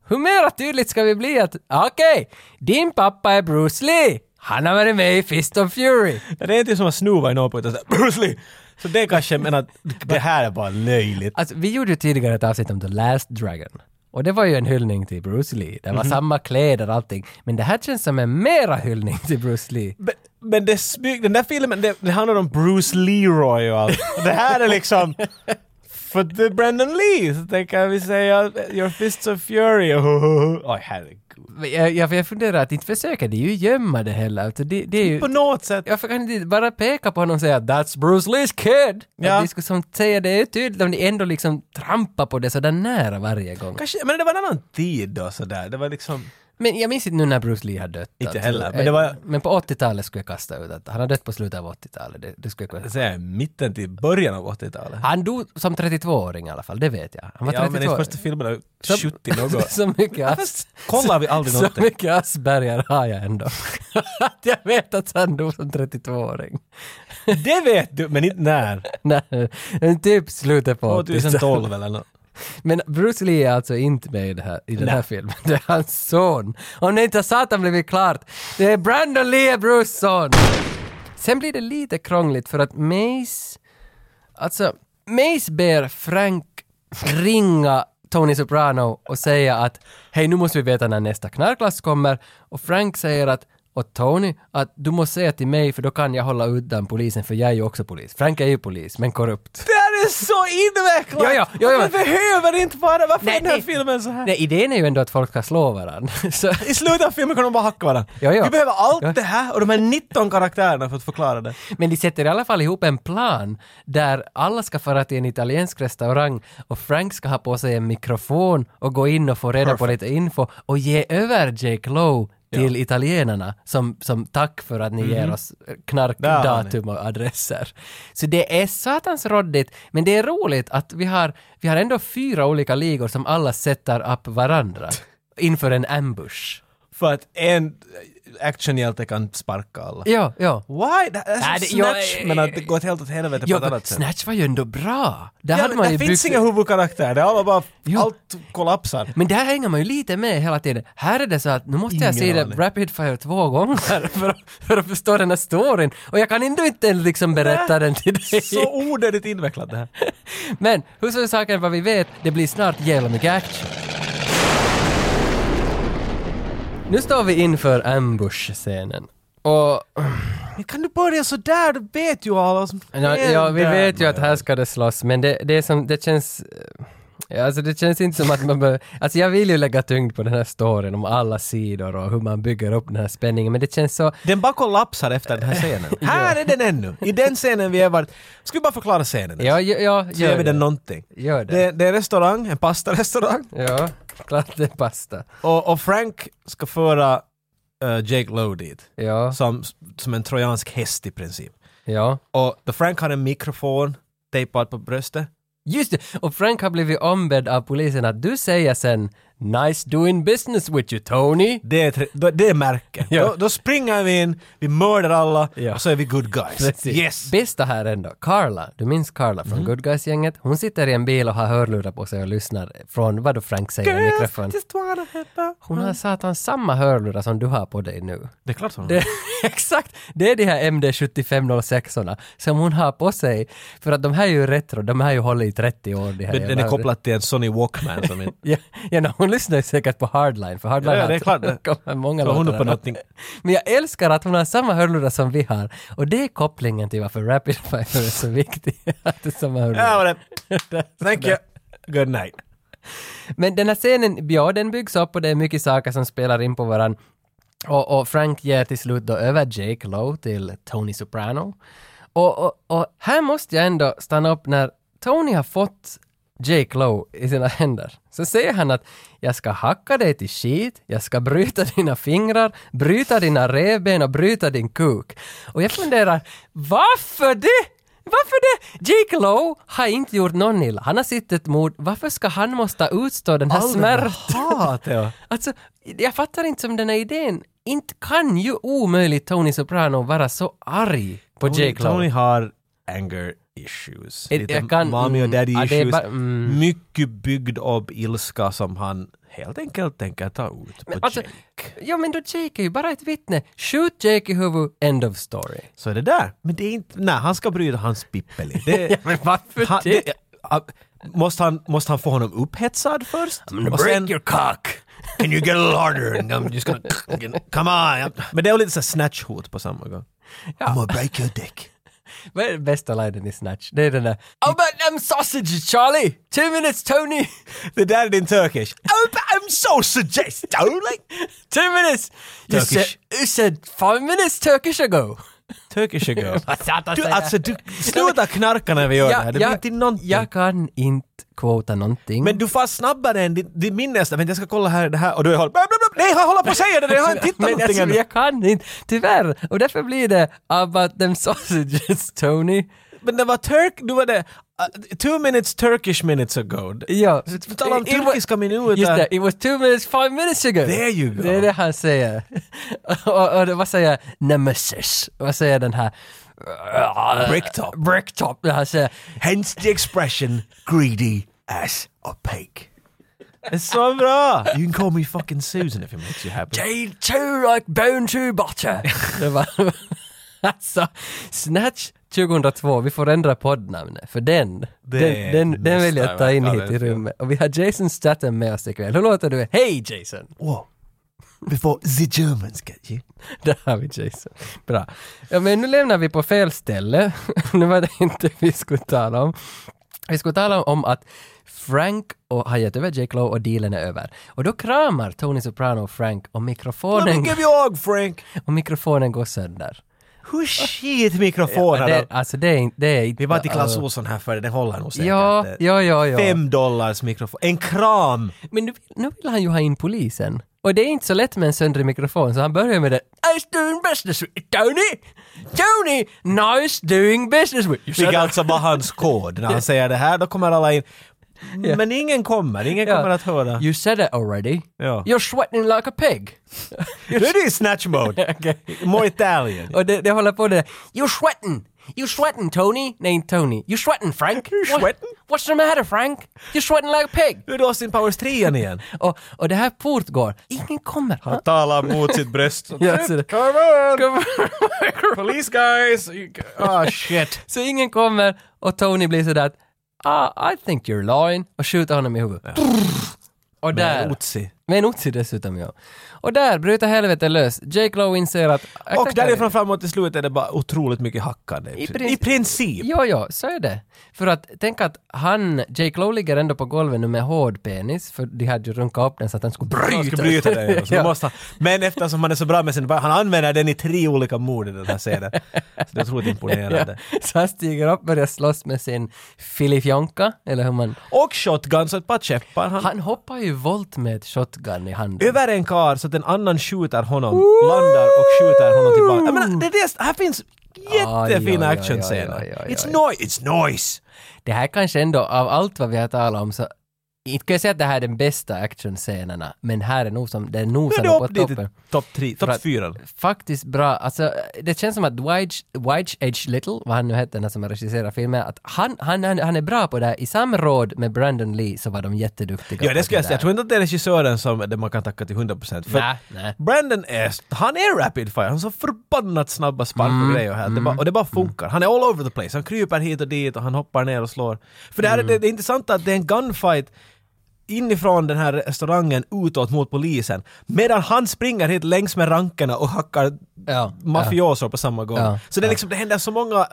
S1: Hur mera tydligt ska vi bli att okej, din pappa är Bruce Lee! Han har varit med i Fist of Fury!
S2: Det är inte som att snova i någon på utan så här, Bruce Lee! Så det kanske, men att det här är bara löjligt.
S1: Alltså, vi gjorde ju tidigare ett avsnitt om The Last Dragon. Och det var ju en hyllning till Bruce Lee. Det var samma kläder och allting. Men det här känns som en mera hyllning till Bruce Lee.
S2: Men, men det smyg, den där filmen, det, det handlar om Bruce Leroy och allt. Och Det här är liksom... För det är Brandon Lee, så det kan vi säga Your Fists of Fury. Oj, herregud.
S1: Men Jag, jag, jag funderar att inte försöker de ju gömma det heller. Alltså, det, det är ju...
S2: På något sätt.
S1: Varför kan de inte bara peka på honom och säga “That's Bruce Lees kid”?
S2: Ja.
S1: Ja. De skulle som säga det är tydligt om de ändå liksom trampar på det sådär nära varje gång.
S2: Kanske, men det var en annan tid då sådär. Det var liksom...
S1: Men jag minns inte nu när Bruce Lee har dött. alltså. Eh,
S2: Inte heller, men det var-
S1: men på 80-talet skulle jag kasta ut att han har dött på slutet av 80-talet. Det, det skulle jag kunna...
S2: Säga, mitten till början av 80-talet.
S1: Han dog som 32-åring i alla fall, det vet jag. Han var
S2: Ja, men
S1: 32
S2: i första filmen,
S1: Så-
S2: 70 något.
S1: så mycket as-
S2: Fast kollar vi aldrig
S1: så
S2: någonting.
S1: mycket asperger har jag ändå. Att jag vet att han dog som 32-åring.
S2: Det vet du, men inte när.
S1: Nej, typ slutet på 80-talet.
S2: 2012 eller något.
S1: Men Bruce Lee är alltså inte med i, det här, i den här filmen. Det är hans son. Om det inte har satan blivit klart. Det är Brandon Lee är Bruce son. Sen blir det lite krångligt för att Mace... Alltså, Mace ber Frank ringa Tony Soprano och säga att hej nu måste vi veta när nästa knarklass kommer och Frank säger att och Tony, att du måste säga till mig för då kan jag hålla undan polisen för jag är ju också polis. Frank är ju polis, men korrupt.
S2: Det här är så invecklat!
S1: Ja, ja, ja, ja.
S2: Man behöver inte vara... Varför
S1: Nej,
S2: är den här
S1: nej.
S2: filmen så här?
S1: Nej, idén är ju ändå att folk ska slå varandra. Så,
S2: I slutet av filmen kan de bara hacka varandra.
S1: Ja, ja.
S2: Vi behöver allt
S1: Ja.
S2: det här och de här 19 karaktärerna för att förklara det.
S1: men de sätter i alla fall ihop en plan där alla ska fara till en italiensk restaurang och Frank ska ha på sig en mikrofon och gå in och få reda på lite info och ge över Jake Lowe till italienarna som, som tack för att ni ger oss
S2: Mhm. Där har ni.
S1: knarkdatum. datum och adresser. Så det är satans råddigt, men det är roligt att vi har, vi har ändå fyra olika ligor som alla sätter upp varandra inför en ambush.
S2: För att en actionhjälte kan sparka alla.
S1: Ja, ja.
S2: Why? Det här
S1: Nej,
S2: är
S1: det-
S2: som
S1: jag-
S2: Snatch, men att det går helt åt helvete på
S1: Ja,
S2: ett
S1: men
S2: annat sätt.
S1: Snatch var ju ändå bra. Där
S2: Ja,
S1: hade
S2: men
S1: man
S2: det
S1: ju
S2: finns
S1: byggt-
S2: inga huvudkaraktärer, det är alla bara...
S1: Jo.
S2: Allt kollapsar.
S1: Men där hänger man ju lite med hela tiden. Här är det så att nu måste jag se
S2: Ingen
S1: det
S2: aning.
S1: Rapid Fire två gånger för, att- för att förstå den här storyn. Och jag kan ändå inte liksom berätta den till dig.
S2: Så onödigt invecklat det här.
S1: Men hur som saken vad vi vet, det blir snart jävla mycket action. Nu står vi inför ambush-scenen. Och
S2: Men kan du börja sådär? Du vet ju alla som
S1: ja, ja, vi
S2: händer.
S1: vet ju att här ska det slåss, men det, det, är som, det känns... eh, ja, Alltså det känns inte som att man behöver... Alltså jag vill ju lägga tyngd på den här storyn om alla sidor och hur man bygger upp den här spänningen, men det känns så...
S2: Den bara kollapsar efter den här scenen. här är den ännu! I den scenen vi har varit... Ska vi bara förklara scenen?
S1: Ja, ja, ja
S2: Så gör vi den
S1: det.
S2: någonting.
S1: Gör det.
S2: Det, det är en restaurang, en pastarestaurang.
S1: Ja, klart det är pasta.
S2: Och, och Frank ska föra eh, Jake Lowe dit.
S1: Ja,
S2: Som, som en trojansk häst i princip.
S1: ja.
S2: Och då Frank har en mikrofon tejpad på bröstet.
S1: Just det, och Frank har blivit ombedd av polisen att du säger sen “Nice doing business with you Tony”.
S2: Det är, tre, då- det är märke.
S1: Ja.
S2: Då, då springer vi in, vi mördar alla
S1: Ja.
S2: och så är vi good guys. Yes!
S1: Bästa här ändå, Carla, du minns Carla från Good Guys-gänget, hon sitter i en bil och har hörlurar på sig och lyssnar från vad då Frank säger i mikrofon.
S2: just wanna have a-
S1: Hon har satan samma hörlurar som du har på dig nu.
S2: Det är klart hon
S1: Det, exakt! Det är de här MD7506orna som hon har på sig. För att de här är ju retro, de här har ju hållit i 30 år. De här
S2: Men den
S1: jävla-
S2: är kopplad till en Sony Walkman som inte...
S1: Ja, ja no, hon lyssnar ju säkert på Hardline, för Hardline
S2: Ja, ja, det är
S1: har-
S2: klart det.
S1: kommer många
S2: Så hon
S1: låtar
S2: är på
S1: där.
S2: någonting.
S1: Men jag älskar att hon har samma hörlurar som vi har, och det är kopplingen till varför Rapid Fire är så viktig. att det är samma
S2: Där
S1: hörlurar.
S2: var det! Thank you! Good night.
S1: Men den här scenen, ja, den byggs upp och det är mycket saker som spelar in på varann. Och, och Frank ger till slut då över Jake Lowe till Tony Soprano. Och, och, och här måste jag ändå stanna upp när Tony har fått Jake Lowe i sina händer. Så säger han att jag ska hacka dig till skit, jag ska bryta dina fingrar, bryta dina revben och bryta din kuk. Och jag funderar, varför det? Varför det? Jake Lowe har inte gjort någon illa. Han har sittit mot, varför ska han måste utstå den här
S2: All den här
S1: smärtan?
S2: hatet och-
S1: Alltså, jag fattar inte som den här idén. Inte kan ju omöjligt Tony Soprano vara så arg på Jake
S2: Tony
S1: Lowe.
S2: har anger issues.
S1: Jag-
S2: Lite
S1: jag kan-
S2: mommy och
S1: mm,
S2: daddy
S1: ja, det är
S2: issues.
S1: bara- mm.
S2: Mycket byggd upp ilska som han helt enkelt tänker ta ut på
S1: alltså-
S2: Jake.
S1: Ja men då Jake är ju bara ett vittne. Shoot Jake i huvudet, end of story.
S2: Så är det där. Men det är inte... Nej, han ska bryta hans pippeli. Det,
S1: men varför
S2: han, det, ah, måste, han, måste han få honom upphetsad först? Och sen-
S1: cock!
S4: Can you get a little harder? And I'm just gonna come on. I'm,
S2: men det är lite så här snatch-hot på samma gång.
S4: I'm gonna break your dick.
S1: Vad är den bästa linen i Snatch? Det är den där About them sausage Charlie! Two minutes Tony!
S2: Det där är din Turkish.
S4: Oh, but I'm so suggestive.
S1: Two minutes! You
S2: Turkish.
S1: said, you said five minutes Turkish ago!
S2: Turkish ago.
S1: Vad satan
S2: Du,
S1: säger jag?
S2: alltså du, sluta knarka när vi gör det här. Det blir inte någonting.
S1: jag kan inte quota någonting.
S2: Men du far snabbare än din, din minne nästan. Men jag ska kolla här det här och du håller... Blah, blah, blah. Nej, jag håller på att säga det! där. Jag har inte tittat
S1: Men
S2: någonting
S1: alltså,
S2: ännu.
S1: jag kan inte, tyvärr. Och därför blir det about them sausages, Tony.
S2: Men det var Turk... Du var det... Uh, two minutes Turkish minutes ago.
S1: Ja.
S2: Vi talar om
S1: It wa-
S2: turkiska minuter.
S1: Just det, it was two minutes, five minutes ago.
S2: There you go.
S1: Det är det han säger. och, och, det- vad säger Nemesis? Vad säger den här?
S4: Bricktop.
S1: Bricktop. Han säger
S4: Hence the expression greedy ass opaque.
S2: Det är så bra! You can call me fucking Susan if it makes you happy.
S1: They too like bone to butter. Det var, alltså, Snatch 2002, vi får ändra poddnamnet, för den, den,
S2: är
S1: den, den vill jag
S2: nästa,
S1: ta in
S2: ja,
S1: hit
S2: det
S1: i
S2: är fel.
S1: rummet. Och vi har Jason Statham med oss ikväll. Hur låter du? Hej Jason!
S4: Whoa. Before the Germans get you.
S1: Där har vi Jason. Bra. Ja, men nu lämnar vi på fel ställe. nu var det inte vi skulle tala om. Vi skulle tala om att Frank och, har gett över Jake Lowe och dealen är över. Och då kramar Tony Soprano Frank och
S2: Let
S1: mikrofonen,
S2: me give you a hug, Frank!
S1: och mikrofonen går sönder.
S2: Hur skit
S1: Ja,
S2: mikrofonerna!
S1: det, alltså det är inte... Det är inte
S2: Vi var till Clas Ohlson här före, det håller nog säkert. Eh,
S1: Ja, ja, ja, ja.
S2: Fem dollars mikrofon. En kram!
S1: Men nu, nu vill han ju ha in polisen. Och det är inte så lätt med en söndrig mikrofon, så han börjar med det. Nice doing business with Tony! Tony! Nice doing business with you!
S2: Vilket alltså var hans kod. När han säger det här, då kommer alla in. Men ingen kommer, ingen kommer att höra.
S1: You said it already.
S2: Ja.
S1: You're sweating like a pig.
S2: Nu är det ju snatch mode! More Italian.
S1: Och det, det håller på det. You're sweating! You're sweating Tony! Nej, inte Tony. You're sweating Frank!
S2: You're
S1: What-
S2: sweating?
S1: What's the matter Frank? You're sweating like a pig!
S2: Nu är det Austin Powers 3 igen.
S1: Och, och det här portgår. Ingen kommer. Han
S2: Talar mot sitt bröst.
S1: Ja, så det-
S2: Come on!
S1: kommer.
S2: Police guys! You- Ah shit.
S1: Så ingen kommer och Tony blir sådär att ah, I think you're lying och skjuter honom i huvudet. Och där,
S2: Otzi.
S1: med en otsi dessutom ja. Och där bryter helvetet lös. Jake Lowe inser att...
S2: Och därifrån framåt till slutet är det bara otroligt mycket hackande.
S1: I
S2: I
S1: princip.
S2: princip. I princip.
S1: Jo, jo, så är det. För att tänk att han, Jake Lowe ligger ändå på golvet nu med hård penis, för de hade ju runkat upp den så att den skulle bryta.
S2: Han ska bryta det. ja. Så
S1: Ja.
S2: då måste han, men eftersom han är så bra med sin... Han använder den i tre olika mord i den här scenen. Så det är otroligt imponerande.
S1: Så han stiger upp och börjar slåss med sin filifjonka, eller hur man...
S2: Och shotguns och ett par käppar. Han,
S1: Han hoppar ju volt med ett shotgun i handen.
S2: över en kar så att en annan skjuter honom, landar och skjuter honom tillbaka. Jag menar, det är det, här finns
S1: Aj, aj,
S2: jättefina
S1: aj,
S2: actionscener.
S1: aj, aj, aj,
S2: It's
S1: aj.
S2: noise! It's noise!
S1: Det här kanske ändå, av allt vad vi har talat om, så inte kan jag säga att det här är den bästa actionscenerna, men här är nog som, det är
S2: Nu är
S1: nosar
S2: det
S1: nog på
S2: upp dit i
S1: toppen.
S2: topp tre,
S1: För
S2: topp
S1: att-
S2: fyra.
S1: Faktiskt bra, alltså det känns som att Dwight, Dwight H. Little, vad han nu hette, den här som har regisserat filmen, att han, han, han, han är bra på det här. I samråd med Brandon Lee så var de jätteduktiga.
S2: Ja,
S1: på
S2: det skulle jag
S1: där.
S2: säga. Jag tror inte att det är regissören som det man kan tacka till 100%. För
S1: Nej, nej.
S2: Brandon är, han är rapid fire, han har så förbannat snabba spark och
S1: Mm,
S2: grejer här. Det bara, och det bara funkar. Han är all over the place. Han kryper hit och dit och han hoppar ner och slår. För det här är
S1: Mm.
S2: det, det är intressanta att det är en gunfight inifrån den här restaurangen utåt mot polisen. Medan han springer hit längs med rankerna och hackar äh,
S1: Ja,
S2: mafioser på samma gång.
S1: Ja,
S2: Så det, är liksom, det händer så många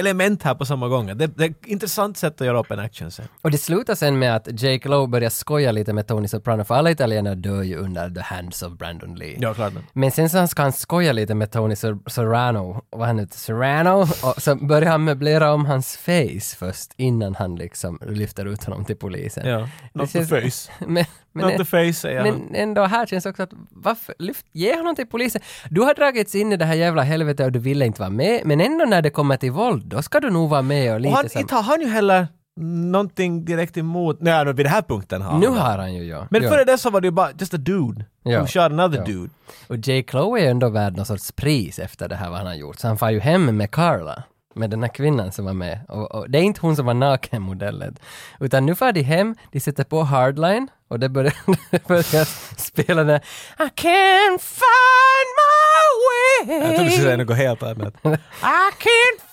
S2: element här på samma gång. Det, det är ett intressant sätt att göra upp en actionscen.
S1: Och det slutar sen med att Jake Lowe börjar skoja lite med Tony Soprano, för alla italienare dör ju under the hands of Brandon Lee.
S2: Ja, klart. men-
S1: Men sen så ska han skoja lite med Tony Ser- Serrano, vad han heter, Serrano, och så börjar han möblera om hans face först innan han liksom lyfter ut honom till polisen.
S2: Ja. Not the
S1: känns-
S2: face.
S1: Men, men,
S2: Not the face, säger han.
S1: men ändå här känns också att, varför, lyft, ge honom till polisen. Du har dragits in i det här jävla helvetet och du ville inte vara med, men ändå när det kommer till våld, då ska du nog vara med och lite
S2: Och han,
S1: som,
S2: inte har han ju heller någonting direkt emot... Nej, men vid den här punkten har han
S1: Nu
S2: det.
S1: har han ju ja.
S2: Men
S1: ja.
S2: före det så var det ju bara just a dude
S1: Ja.
S2: who shot another
S1: Ja.
S2: dude.
S1: Och J. Chloe är ju ändå värd någon sorts pris efter det här vad han har gjort, så han far ju hem med Carla, med den här kvinnan som var med. Och, och det är inte hon som var nakenmodellen, utan nu far de hem, de sätter på hardline och det börjar, det börjar spela den här, I can't find my way.
S2: Jag trodde du skulle säga något helt annat.
S1: I can't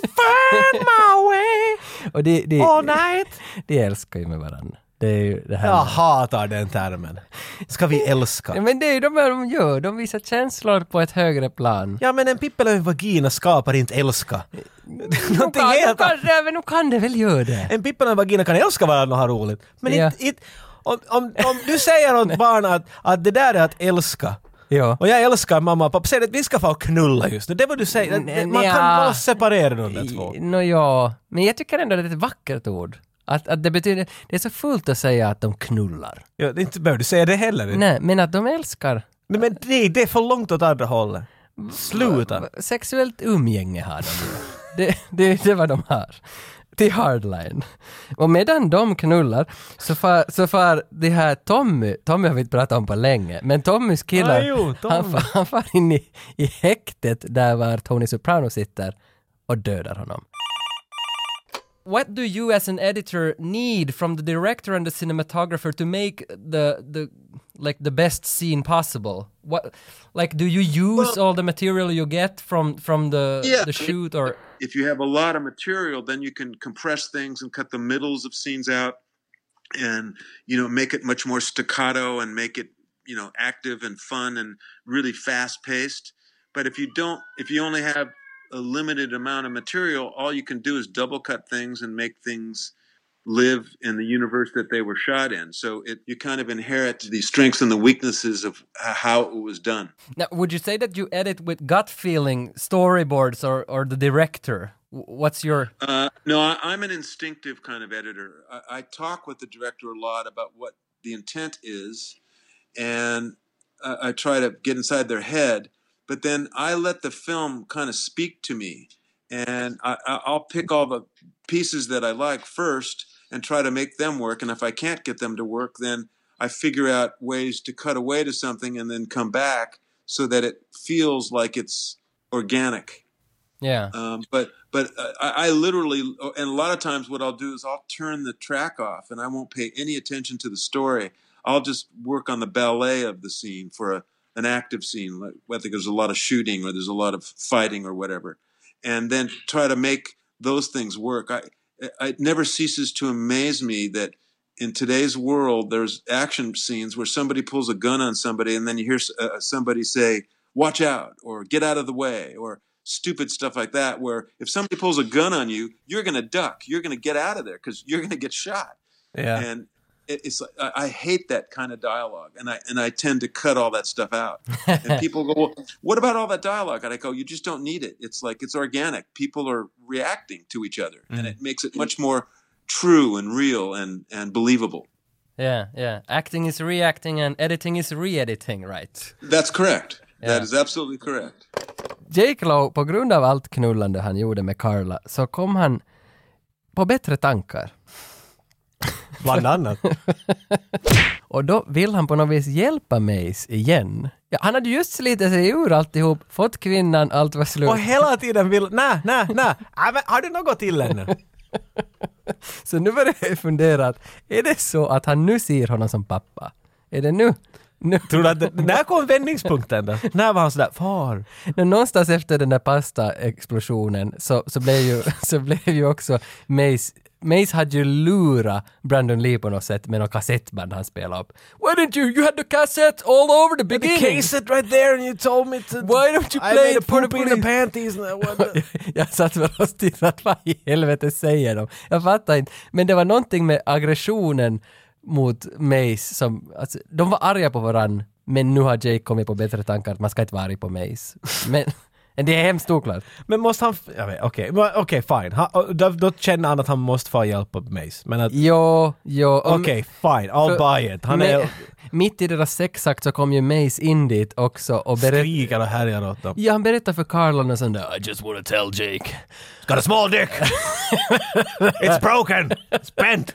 S2: Find my way
S1: och de, de,
S2: all night.
S1: de älskar ju med varandra. Det är ju det här.
S2: Jag hatar den termen. Ska vi
S1: Ja,
S2: älska?
S1: Men det är ju de här de gör, de visar känslor på ett högre plan.
S2: Ja men en pippel och en vagina skapar inte älska.
S1: Nu
S2: Någonting
S1: kan, nu
S2: helt annat.
S1: kan, nej, men nu kan det väl göra det.
S2: En pippel och en vagina kan älska varandra och ha roligt. Men
S1: Ja.
S2: inte... inte- om, om, om du säger åt barn att, att det där är att älska.
S1: Ja.
S2: Och jag älskar mamma och pappa. Säg att vi ska få knulla just nu. Det är vad du säger.
S1: Mm,
S2: Man
S1: nja.
S2: kan bara separera de där två.
S1: Nå ja, men jag tycker ändå det är ett vackert ord. Att, att det betyder, det är så fult att säga att de knullar.
S2: Ja, det är inte behöver du säga det heller. Nej.
S1: Nej, men att de älskar.
S2: Men det, det är för långt åt andra hållet. Sluta.
S1: Sexuellt umgänge har de ju. det, det, det är vad de har. Till hardline. Och medan de knullar så far, så far det här Tommy, Tommy har vi inte pratat om på länge, men Tommys killar,
S2: Ah, jo, Tommy.
S1: han, far, han far in i, i häktet där var Tony Soprano sitter och dödar honom. what do you as an editor need from the director and the cinematographer to make the the like the best scene possible what like do you use all the material you get from from the
S3: Yeah.
S1: the shoot or
S3: if you have a lot of material, then you can compress things and cut the middles of scenes out and, you know, make it much more staccato and make it, you know, active and fun and really fast paced. But if you don't, if you only have a limited amount of material, all you can do is double cut things and make things live in the universe that they were shot in. So it, you kind of inherit the strengths and the weaknesses of h- how it was done.
S1: now would you say that you edit with gut feeling storyboards or or the director W- what's your
S3: Uh, no, I, I'm an instinctive kind of editor. I, I talk with the director a lot about what the intent is, and I, I try to get inside their head. But then I let the film kind of speak to me, and I, I- I'll pick all the pieces that I like first and try to make them work. And if I can't get them to work, then I figure out ways to cut away to something and then come back so that it feels like it's organic
S1: yeah
S3: um, but but uh, I, I literally and a lot of times what I'll do is I'll turn the track off and I won't pay any attention to the story. I'll just work on the ballet of the scene for a, an active scene, like whether there's a lot of shooting or there's a lot of fighting or whatever, and then try to make those things work. I I- it never ceases to amaze me that in today's world there's action scenes where somebody pulls a gun on somebody and then you hear s- uh, somebody say watch out or get out of the way or stupid stuff like that where if somebody pulls a gun on you you're going to duck you're going to get out of there because you're going to get shot
S2: Yeah.
S3: and it, it's like, I, I hate that kind of dialogue and i and i tend to cut all that stuff out and people go well, what about all that dialogue and i go you just don't need it it's like it's organic people are reacting to each other and it makes it much more true and real and and believable
S1: yeah yeah acting is reacting and editing is re-editing right
S3: that's correct that
S1: Yeah.
S3: is absolutely correct
S1: Jake Lowe, på grund av allt knullande han gjorde med Carla, så kom han på bättre tankar.
S2: Bland annat.
S1: Och då vill han på något vis hjälpa Mace igen. Ja, han hade just slitit sig ur alltihop, fått kvinnan, allt var slut.
S2: Och hela tiden vill... Nä, nä, nä. Äh, men Har du något till ännu?
S1: Så nu börjar jag fundera, att, är det så att han nu ser honom som pappa? Är det nu? nu.
S2: Tror du att... det- När kom vändningspunkten då? När var han sådär “Far”?
S1: Men någonstans efter den där pasta-explosionen så, så, blev ju, så blev ju också Mace Mace hade ju lurat Brandon Lee på något sätt med något kassettband han spelade upp. Why didn't you? You had the cassette all over the
S2: The
S1: beginning!
S2: case it right there and you told me to...
S1: Why don't you play
S2: I made a
S1: it for the
S2: poop in the
S1: police?"
S2: panties and I wonder-
S1: jag satt väl och stirrade, vad i helvete säger de? Jag fattar inte. Men det var någonting med aggressionen mot Mace som, alltså, de var arga på varann, men nu har Jake kommit på bättre tankar att man ska inte vara arg på Mace. Men, men det är hemskt oklart.
S2: Men måste han... Jag vet, okej, men okej, fine. Ha, och då, då känner han att han måste få hjälp av Mace. Men att...
S1: Jo, jo. om-
S2: Okej, fine. I'll
S1: för-
S2: buy it. Han
S1: Men-
S2: är...
S1: Mitt i deras sexakt så kom ju Mace in dit också och berättade
S2: Skriker och härjar åt dem.
S1: Ja, han berättade för Carlon och sånt där. I just wanna tell Jake.
S4: It's got a small dick. it's broken. It's bent.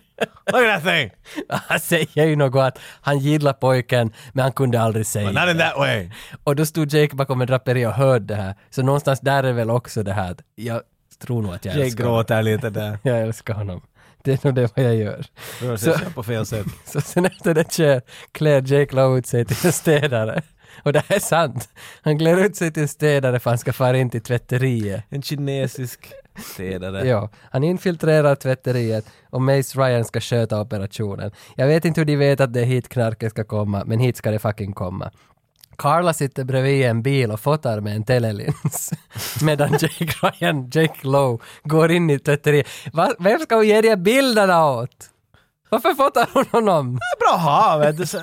S4: Look at that thing.
S1: Han säger ju något att han gillar pojken, men han kunde aldrig säga.
S4: But not in that way.
S1: Och då stod Jake bakom en draperi och hörde det här. Så någonstans där är väl också det här att jag tror nog att jag
S2: Jake
S1: älskar honom.
S2: gråter lite där.
S1: Jag älskar honom. Det är nog det vad jag gör.
S2: Rör
S1: Så,
S2: sig på fel sätt.
S1: så sen efter det kör klär Jake Lowe ut sig till en städare. Och det här är sant. Han klär ut sig till en städare för han ska fara in till tvätteriet.
S2: En kinesisk städare.
S1: Ja, han infiltrerar tvätteriet och Mace Ryan ska sköta operationen. Jag vet inte hur de vet att det är hit knarket ska komma, men hit ska det fucking komma. Carla sitter bredvid en bil och fotar med en telelins medan Jake Ryan, Jake Lowe, går in i tvätteriet. Va, vem ska hon ge de här bilderna åt? Varför fotar hon honom?
S2: Bra hav, vet du. Så-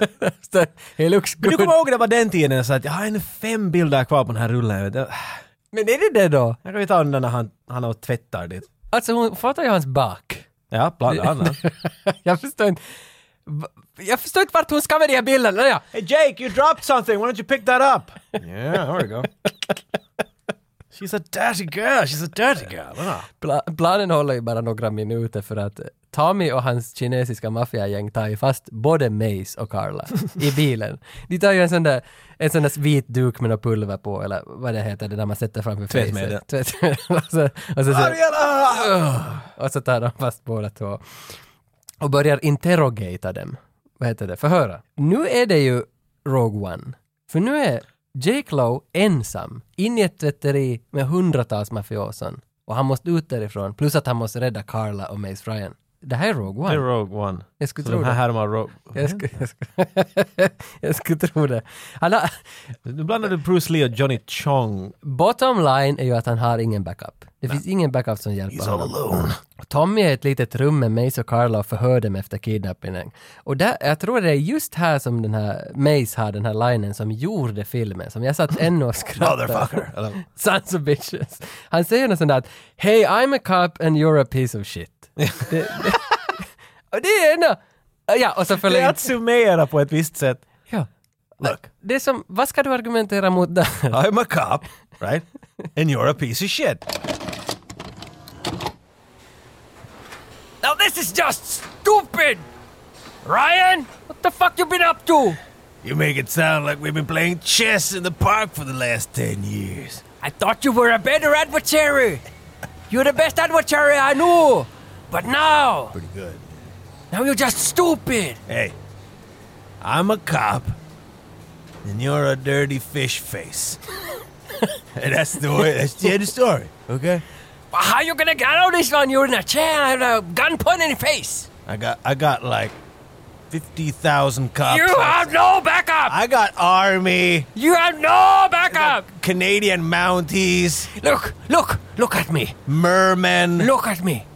S1: He looks
S2: Men du
S1: good.
S2: kommer ihåg det var den tiden så att jag har ännu fem bilder kvar på den här rullen. Vet du.
S1: Men är det det då?
S2: Jag kan ju ta den där när han, han har tvättar dit.
S1: Alltså hon fotar ju hans bak.
S2: Ja, bland annat.
S1: jag förstår inte. Va- Jag förstår inte vart hon ska med de här bilderna. Ja.
S2: hey Jake, you dropped something, why don't you pick that up? Yeah, there we go. She's a dirty girl, she's a dirty girl. Ah.
S1: Pla- planen håller ju bara några minuter för att Tommy och hans kinesiska maffiagäng tar ju fast både Mace och Carla i bilen. De tar ju en sån där, en sån där vit duk med något pulver på, eller vad det heter, det där man sätter framför
S2: Tvättmedel.
S1: facet. Tvättmedel. och, så, och, så, så,
S2: Ariella!
S1: och så tar de fast båda två. Och börjar interrogata dem. Vad heter det? Förhöra. Nu är det ju Rogue One. För nu är Jake Lowe ensam in i ett tvätteri med hundratals mafioson. Och han måste ut därifrån, plus att han måste rädda Carla och Mace Ryan. Det här är Rogue
S2: Det är
S1: One.
S2: Rogue One.
S1: Jag skulle
S2: Så
S1: tro
S2: de här
S1: det.
S2: härmar Rogue...
S1: Jag skulle, jag, skulle, jag skulle tro det. Han har,
S2: Nu blandar du Bruce Lee och Johnny Chong.
S1: bottom line är ju att han har ingen backup. Det finns ingen backup som hjälper honom.
S2: alone.
S1: Tommy är i ett litet rum med Mace och Carla och förhör dem efter kidnappningen. Och där, jag tror det är just här som den här Mace har den här linen som gjorde filmen, som jag satt ännu och skrattade.
S2: Motherfucker. Eller-
S1: Sons of bitches. Han säger något sånt där att “Hey, I'm a cop and you're a piece of shit”. det, det, och det är ändå... Ja, och så
S2: Det är
S1: förlängd...
S2: att summera på ett visst sätt.
S1: Ja.
S2: Look,
S1: Det är som, vad ska du argumentera mot där?
S2: I'm a cop, right? And you're a piece of shit.
S1: Now this is just stupid! Ryan, what the fuck you been up to?
S2: You make it sound like we've been playing chess in the park for the last 10 years.
S1: I thought you were a better adversary. You're the best adversary I knew. But now,
S2: Pretty good.
S1: now you're just stupid.
S2: Hey, I'm a cop, and you're a dirty fish face. and that's the way, that's the end of the story, okay?
S1: How you gonna get out of this one? You're in a chair and a gun put in your face.
S2: I got, I got like 50,000 cops.
S1: You have no backup.
S2: I got army,
S1: You have no backup.
S2: Canadian Mounties,
S1: Look, look, look at me.
S2: mermen.
S1: Look at me.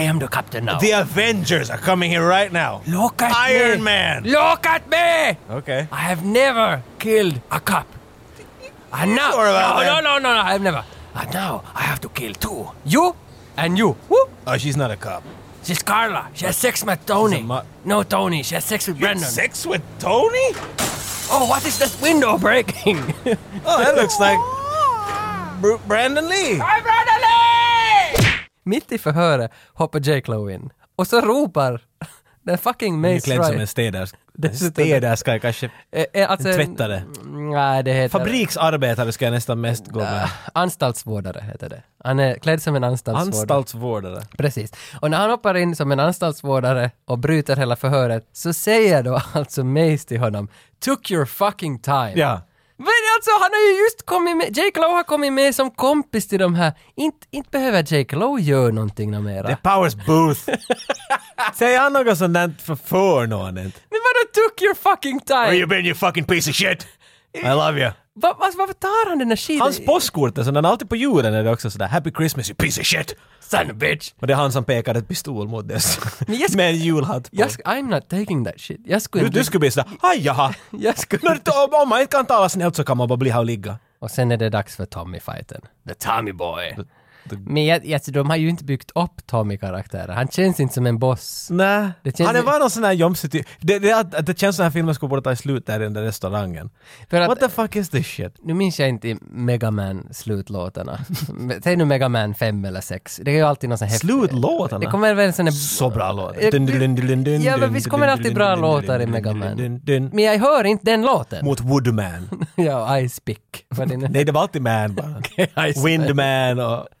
S1: I am the captain now.
S2: The Avengers are coming here right now.
S1: look at me.
S2: Iron Man.
S1: Look at me.
S2: Okay.
S1: I have never killed a cop. And now,
S2: Sure about
S1: no, no,
S2: that.
S1: no, no, no, I've never. And now I have to kill two. You and you. Woo.
S2: Oh, she's not a cop.
S1: She's Carla. She has sex with Tony.
S2: She's a mu-
S1: no, Tony. She has sex with Brandon.
S2: Sex with Tony?
S1: Oh, what is this window breaking?
S2: Oh, that looks like Br- Brandon Lee.
S1: Mitt i förhöret hoppar Jake Lowe in och så ropar den fucking
S2: Han är
S1: Mace
S2: klädd som en
S1: Ryan.
S2: städers- en
S1: Dessutom-
S2: städerska kanske.
S1: Eh, eh, Alltså,
S2: en tvättare.
S1: Nej, det heter...
S2: Fabriksarbetare ska jag nästan mest gå med.
S1: Anstaltsvårdare heter det. Han är klädd som en anstaltsvårdare.
S2: Ah, Anstaltsvårdare.
S1: Precis. Och när han hoppar in som en anstaltsvårdare och bryter hela förhöret så säger då alltså Mace till honom “Took your fucking time”.
S2: Ja.
S1: Men alltså han har ju just kommit med, Jake Lowe har kommit med som kompis till de här. Inte, inte behöver Jake Lowe göra någonting nå mera.
S2: Det är Powers Booth. Säger han något sånt där för förnående?
S1: Men vadå “took your fucking
S2: Where
S1: time”?
S2: you been you fucking piece of shit? I love you.
S1: Va, va, varför tar han den där skiten?
S2: Hans postkort är sådär, alltid på julen är det också sådär “Happy Christmas you piece of shit”.
S1: Son of a bitch!
S2: Och det är han som pekar ett pistol mot dess.
S1: Men jag sk-
S2: Med en julhatt på.
S1: Jag sk- I'm not taking that shit. Jag skulle
S2: Du, du skulle bli sådär “Aj jaha”.
S1: Jag skulle
S2: När, om- om man inte kan tala snällt så kan man bara bli här och ligga.
S1: Och sen är det dags för Tommy-fighten. The Tommy boy.
S2: the-
S1: Men jag, jag, de har ju inte byggt upp Tommy-karaktärer. Han känns inte som en boss.
S2: Nej.
S1: Det känns-
S2: Han är bara någon sån här jomsig typ. Det, det, är att- att det känns som den här filmen skulle borde ta slut där i den där restaurangen.
S1: För att,
S2: What the fuck is this shit?
S1: nu minns jag inte Mega Man-slutlåtarna. Men Säg nu Mega Man 5 eller 6. Det är ju alltid någon sån här...
S2: Slutlåtarna?
S1: Eh, Det kommer väl en sån här...
S2: Så bra låt.
S1: Ja, Ja, men visst kommer det alltid bra låtar i Mega Man. Men jag hör inte den låten.
S2: Mot Woodman.
S1: ja, Ice Pick. Vad det nu
S2: Nej, det var alltid Man bara.
S1: Ice
S2: Windman och... och-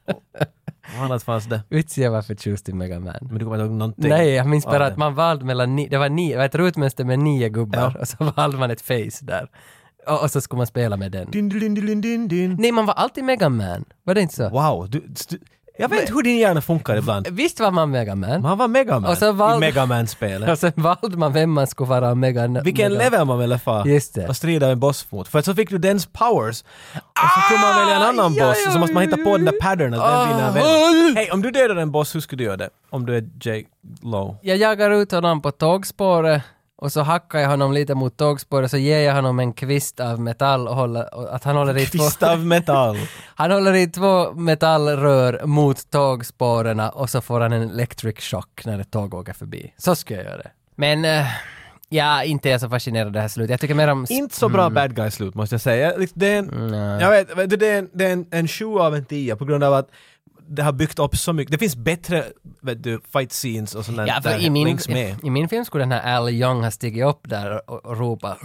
S2: Vad annat fanns det?
S1: Vitsi jag var förtjust i Mega Man.
S2: Men du kommer inte ihåg någonting?
S1: Nej, jag minns
S2: av
S1: bara
S2: det.
S1: att man valde mellan ni, det var nio, det var ett rutmönster med nio gubbar och så valde man ett face där. Och, och så skulle man spela med den.
S2: Din, din, din, din, din.
S1: Nej, man var alltid Mega Man. Var det inte så?
S2: Wow, du, du, jag vet inte hur din hjärna funkar ibland.
S1: Visst var man Mega Man?
S2: Men han var Megaman
S1: Och så var-
S2: i Megaman-spelet.
S1: Och sen valde man vem man skulle vara Mega
S2: Vilken
S1: Mega.
S2: level man ville få
S1: Just det.
S2: och strida en boss mot. För att så fick du dens powers och så kunde man välja en annan
S1: ja,
S2: boss och så måste man hitta på den där pattern att vem vinner vem.
S1: Ah.
S2: Hej, om du dödar en boss, hur skulle du göra det? Om du är Jake Low.
S1: Jag jagar ut honom på tågspåret och så hackar jag honom lite mot tågspåret så ger jag honom en kvist av metall och håller, och att han håller i två...
S2: Kvist av metall.
S1: Han håller i två metallrör mot tågspåren och så får han en electric shock när ett tåg åker förbi. Så ska jag göra det. Men eh, Ja, inte är jag så fascinerad av det här slutet. Jag tycker mer om... sp-
S2: Inte så bra bad guy-slut måste jag säga. Liksom, Det är en,
S1: Mm.
S2: jag vet, vet du, det är en, det är en, en sju av en tia på grund av att det har byggt upp så mycket. Det finns bättre vet du, fight scenes och sånt där.
S1: Ja, för
S2: där
S1: i, min,
S2: links med.
S1: i min film skulle den här Al Young ha stigit upp där och, och ropa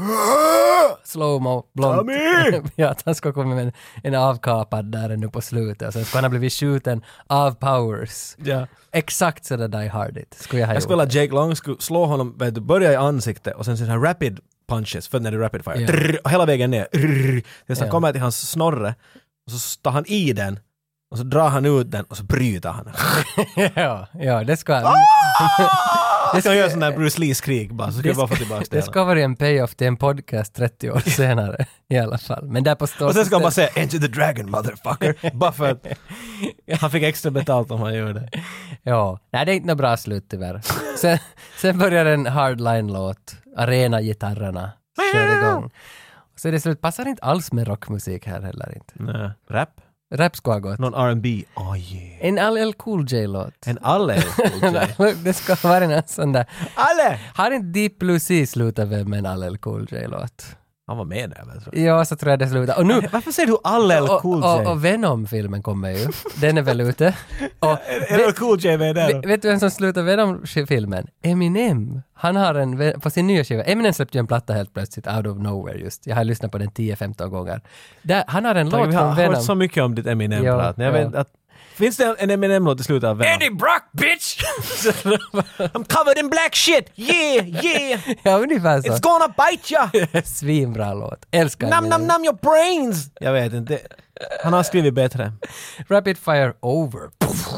S1: slowmo blont.
S2: Tommy!
S1: ja, att han skulle komma med en, en avkapad där nu på slutet. Sen skulle han ha blivit skjuten av Powers.
S2: Ja.
S1: Exakt sådär Die Hardigt skulle jag ha
S2: Jag
S1: gjort.
S2: skulle vilja att Jake Long skulle slå honom, vet du, börja i ansiktet och sen sån här rapid punches, för när det är rapid fire.
S1: Ja.
S2: Drrr, och hela vägen ner. Drrr, tills han
S1: Ja.
S2: kommer till hans snorre och så tar han i den och så drar han ut den och så bryter han.
S1: ja, ja, det skulle
S2: Ah!
S1: han.
S2: Det ska göra sån där Bruce Lee-skrik bara, så ska jag bara få tillbaka det.
S1: Det
S2: hela.
S1: ska vara en payoff till en podcast 30 år senare i alla fall. Men där på
S2: Och sen ska han bara säga “Enter the dragon motherfucker” bara för att han fick extra betalt om han gjorde det.
S1: Ja, nej det är inte något bra slut tyvärr. Sen, sen börjar en hardline-låt, arenagitarrerna kör igång. Så det slut passar inte alls med rockmusik här heller inte.
S2: Nej. Rap?
S1: Rap ska ha gått.
S2: Någon R&B? Oh yeah.
S1: En LL Cool J-låt.
S2: En alle?
S1: det ska vara en sån där.
S2: alle!
S1: Har inte Deep Blue Sea slutat väl med en LL Cool J-låt?
S2: Han var med där väl? tror jag.
S1: Ja, så tror jag det slutar. Och nu,
S2: Varför säger du alle
S1: och,
S2: Cool
S1: och,
S2: J?
S1: och Venom-filmen kommer ju. Den är väl ute. Och,
S2: Är det Cool J med där?
S1: Vet, vet du vem som slutar Venom-filmen? Eminem. Han har en, ve- på sin nya skiva, Eminem släppte ju en platta helt plötsligt, out of nowhere just. Jag har lyssnat på den 10-15 gånger. Där, han har en låt
S2: Vi har
S1: från
S2: hört
S1: Venom.
S2: så mycket om ditt Eminem-prat.
S1: Ja,
S2: Jag vet
S1: ja.
S2: att- Finns det en Eminem-låt i slutet av Venom?
S1: Brock bitch!
S2: I'm covered in black shit! Yeah, yeah!
S1: ja, ungefär så.
S2: gonna bite ya!
S1: Svinbra låt. Älskar
S2: Nam
S1: Eminem.
S2: nam nam your brains! Jag vet inte. Han har skrivit bättre.
S1: Rapid fire over. Puff.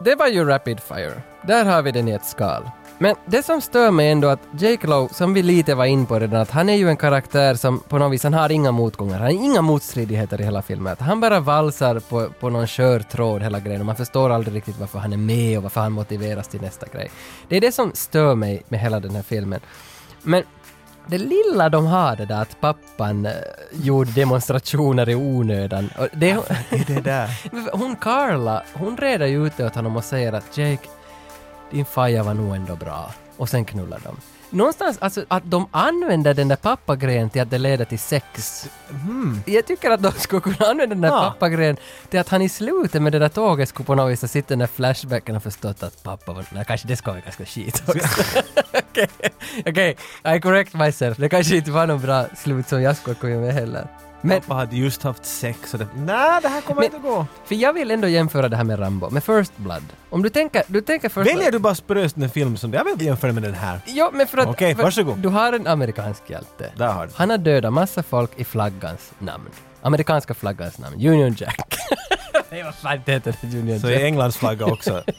S1: Det var ju Rapid Fire. Där har vi den i ett skal. Men det som stör mig ändå att Jake Lowe, som vi lite var in på redan, att han är ju en karaktär som på något vis, han har inga motgångar, han har inga motstridigheter i hela filmen. Att han bara valsar på, på någon skör tråd hela grejen och man förstår aldrig riktigt varför han är med och varför han motiveras till nästa grej. Det är det som stör mig med hela den här filmen. Men det lilla de har det där att pappan eh, gjorde demonstrationer i onödan. Och det,
S2: Är det där?
S1: hon Carla, hon reder ju ut det åt honom och säger att Jake, din faja var nog ändå bra. Och sen knullar de. Någonstans, alltså att de använder den där pappagrejen till att det leder till sex. Jag tycker att de skulle kunna använda den där
S2: Ja.
S1: pappagrejen till att han i slutet med det där tåget skulle på något vis ha sett den där flashbacken och förstått att pappa var... Nej, kanske det ska vara ganska skit också. Okej, okej. I correct myself. Det kanske inte var någon bra slut som jag skulle kunna med heller. Men
S2: Pappa hade just haft sex och det... Nej, det här kommer
S1: Men-
S2: inte gå.
S1: för jag vill ändå jämföra det här med Rambo, med First Blood. Om du tänker, du tänker First
S2: Väljer
S1: Blood...
S2: du bara spöst en film som det? Jag vill inte jämföra med den här.
S1: Ja, men för att...
S2: Okej,
S1: för-
S2: varsågod.
S1: Du har en amerikansk hjälte.
S2: Där har du.
S1: Han har dödat massa folk i flaggans namn. Amerikanska flaggans namn. Union Jack. Nej, vad fan det heter det? Union
S2: Så
S1: Jack.
S2: är Englands flagga också.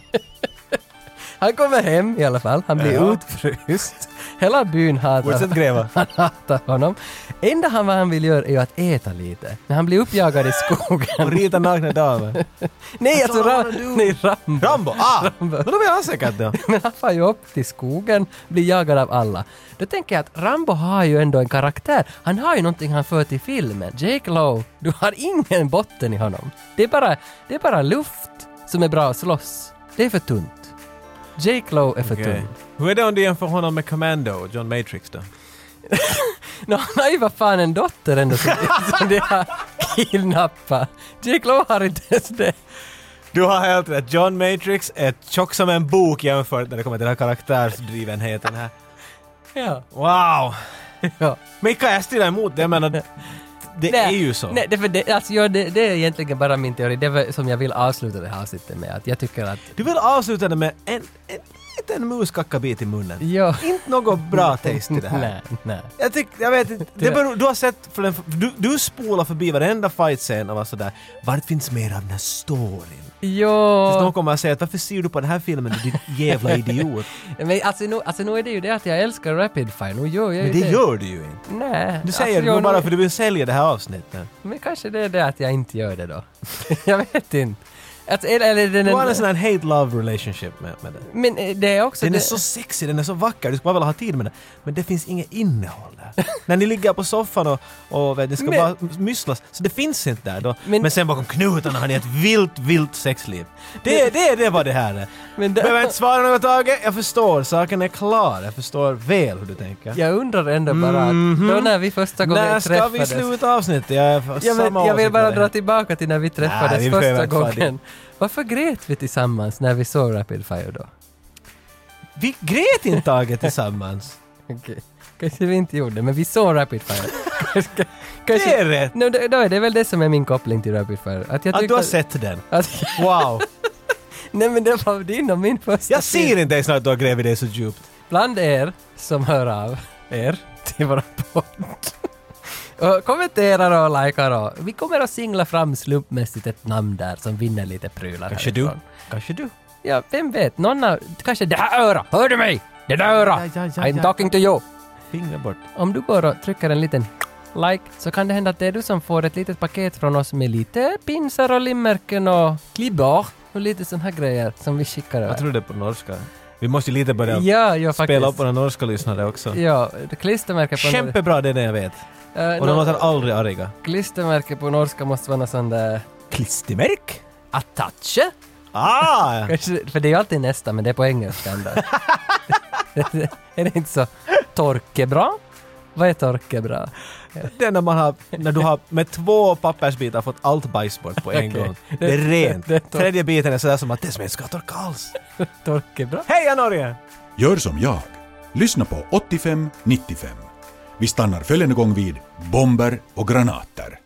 S1: Han kommer hem i alla fall. Han blir
S2: Ja.
S1: utfryst. Hela byn hatar
S2: Fortsätt gräva.
S1: Han hatar honom. Enda han, vad han vill göra är ju att äta lite. Men han blir uppjagad i
S2: Och
S1: skogen.
S2: rita nakna damer.
S1: Nej, alltså
S2: Vad
S1: Ram-
S2: fan har du-
S1: nej, Rambo.
S2: Rambo! Ah! Men då vill han säkert då.
S1: Men han far ju upp till skogen, blir jagad av alla. Då tänker jag att Rambo har ju ändå en karaktär. Han har ju någonting han för till filmen. Jake Lowe, du har ingen botten i honom. Det är bara, det är bara luft som är bra att slåss. Det är för tunt. Jake Lowe är för
S2: Okej.
S1: tunn.
S2: Hur är det om du jämför honom med Commando, John Matrix då?
S1: Nå, han har ju vad fan en dotter ändå som, som de har kidnappat. Jake Lowe har inte ens det.
S2: Du har helt rätt. John Matrix är tjock som en bok jämfört när det kommer till den här karaktärsdrivenheten här.
S1: Ja,
S2: Wow!
S1: ja.
S2: Men kan jag strida emot det? Jag menar, det är ju så.
S1: Nej, det, för det, alltså, ja, det, det är egentligen bara min teori. Det var som jag vill avsluta det här avsnittet med. Att jag tycker att
S2: Du vill avsluta det med en, en liten muskackabit i munnen.
S1: Ja.
S2: Inte något bra taste i det här.
S1: Nej, nej.
S2: Jag tycker, jag vet inte. Det beror, du har sett, för den, du, du spolar förbi varenda fight-scen och var sådär, vart finns mer av den här storyn? Tills någon
S1: Jo,
S2: kommer att säga att varför ser du på den här filmen, du din jävla idiot?
S1: men alltså nu, alltså nu är det ju det att jag älskar Rapid Fire, nu gör jag ju
S2: Men det gör du ju inte.
S1: Nej.
S2: Du säger det
S1: Alltså, jag,
S2: bara
S1: nu-
S2: för du vill sälja det här avsnittet.
S1: Men kanske det är det att jag inte gör det då. jag vet inte. Att, eller, eller den,
S2: Du har en
S1: den,
S2: sån här hate-love relationship med, med den.
S1: men eh, det är också...
S2: Den
S1: det,
S2: är så sexig, den är så vacker, du skulle bara vilja ha tid med den. Men det finns inget innehåll där. När ni ligger på soffan och, och vet, ni ska
S1: Men-
S2: bara mysslas, så det finns inte där då.
S1: Men-
S2: Men, sen bakom knutarna har ni ett vilt, vilt sexliv. Det, det, det är vad det här är.
S1: Men
S2: Men
S1: det-
S2: Behöver jag inte svara något Tage, jag förstår, saken är klar. Jag förstår väl hur du tänker.
S1: jag undrar ändå bara att då när vi första gången
S2: Mhm. När ska vi
S1: träffades...
S2: sluta avsnittet? Jag är för
S1: jag, vet,
S2: samma
S1: jag vill
S2: åsikt
S1: bara
S2: med dig.
S1: dra tillbaka till när vi träffades
S2: Nej, vi behöver
S1: första
S2: inte vara
S1: gången. Varför grät vi tillsammans när vi såg Rapid Fire då?
S2: Vi grät inte Tage tillsammans.
S1: Okej. Kanske vi inte gjorde, men vi såg Rapid Fire. kanske,
S2: Det är rätt.
S1: No, då, då är det väl det som är min koppling till Rapid Fire. Att, jag
S2: Att
S1: tyckte
S2: du har sett den.
S1: Att,
S2: Wow.
S1: nej men det var din och min första
S2: Jag
S1: film.
S2: ser inte ens att du har grävt det så djupt.
S1: bland er som hör av er till våra podd. Och kommenterar och likar och vi kommer att singla fram slumpmässigt ett namn där som vinner lite prylar
S2: Kanske du.
S1: härifrån.
S2: Kanske du.
S1: Ja, vem vet, någon av, kanske det här örat, hör du mig? Det där örat!
S2: Ja, ja, ja,
S1: I'm
S2: ja.
S1: talking to you!
S2: Fingrar bort.
S1: Om du går och trycker en liten like så kan det hända att det är du som får ett litet paket från oss med lite pinsar och limmärken och klibbor och lite sån här grejer som vi skickar
S2: Jag
S1: över.
S2: tror det är på norska. Vi måste ju lite börja
S1: Ja, ja faktiskt.
S2: spela upp våra norska lyssnare också.
S1: Ja, det klistermärke på...
S2: Kämpebra det är det jag vet.
S1: Eh,
S2: Och de
S1: nå-
S2: låter aldrig arga.
S1: Klistermärke på norska måste vara något sånt där...
S2: Klistermärk? Mm.
S1: Attache?
S2: Ah!
S1: Kanske, för det är ju alltid nästa, men det är på engelska ändå. är det inte så? Torkebra? Vad är torkebra?
S2: Det är när man har, när du har med två pappersbitar fått allt bajs bort på en
S1: Okej.
S2: gång. Det är rent.
S1: det är torrt.
S2: Tredje biten är sådär som att det som inte ska torka alls.
S1: Torkebra?
S2: Heja Norge!
S5: Gör som jag. Lyssna på 85-95. Vi stannar följande gång vid bomber och granater.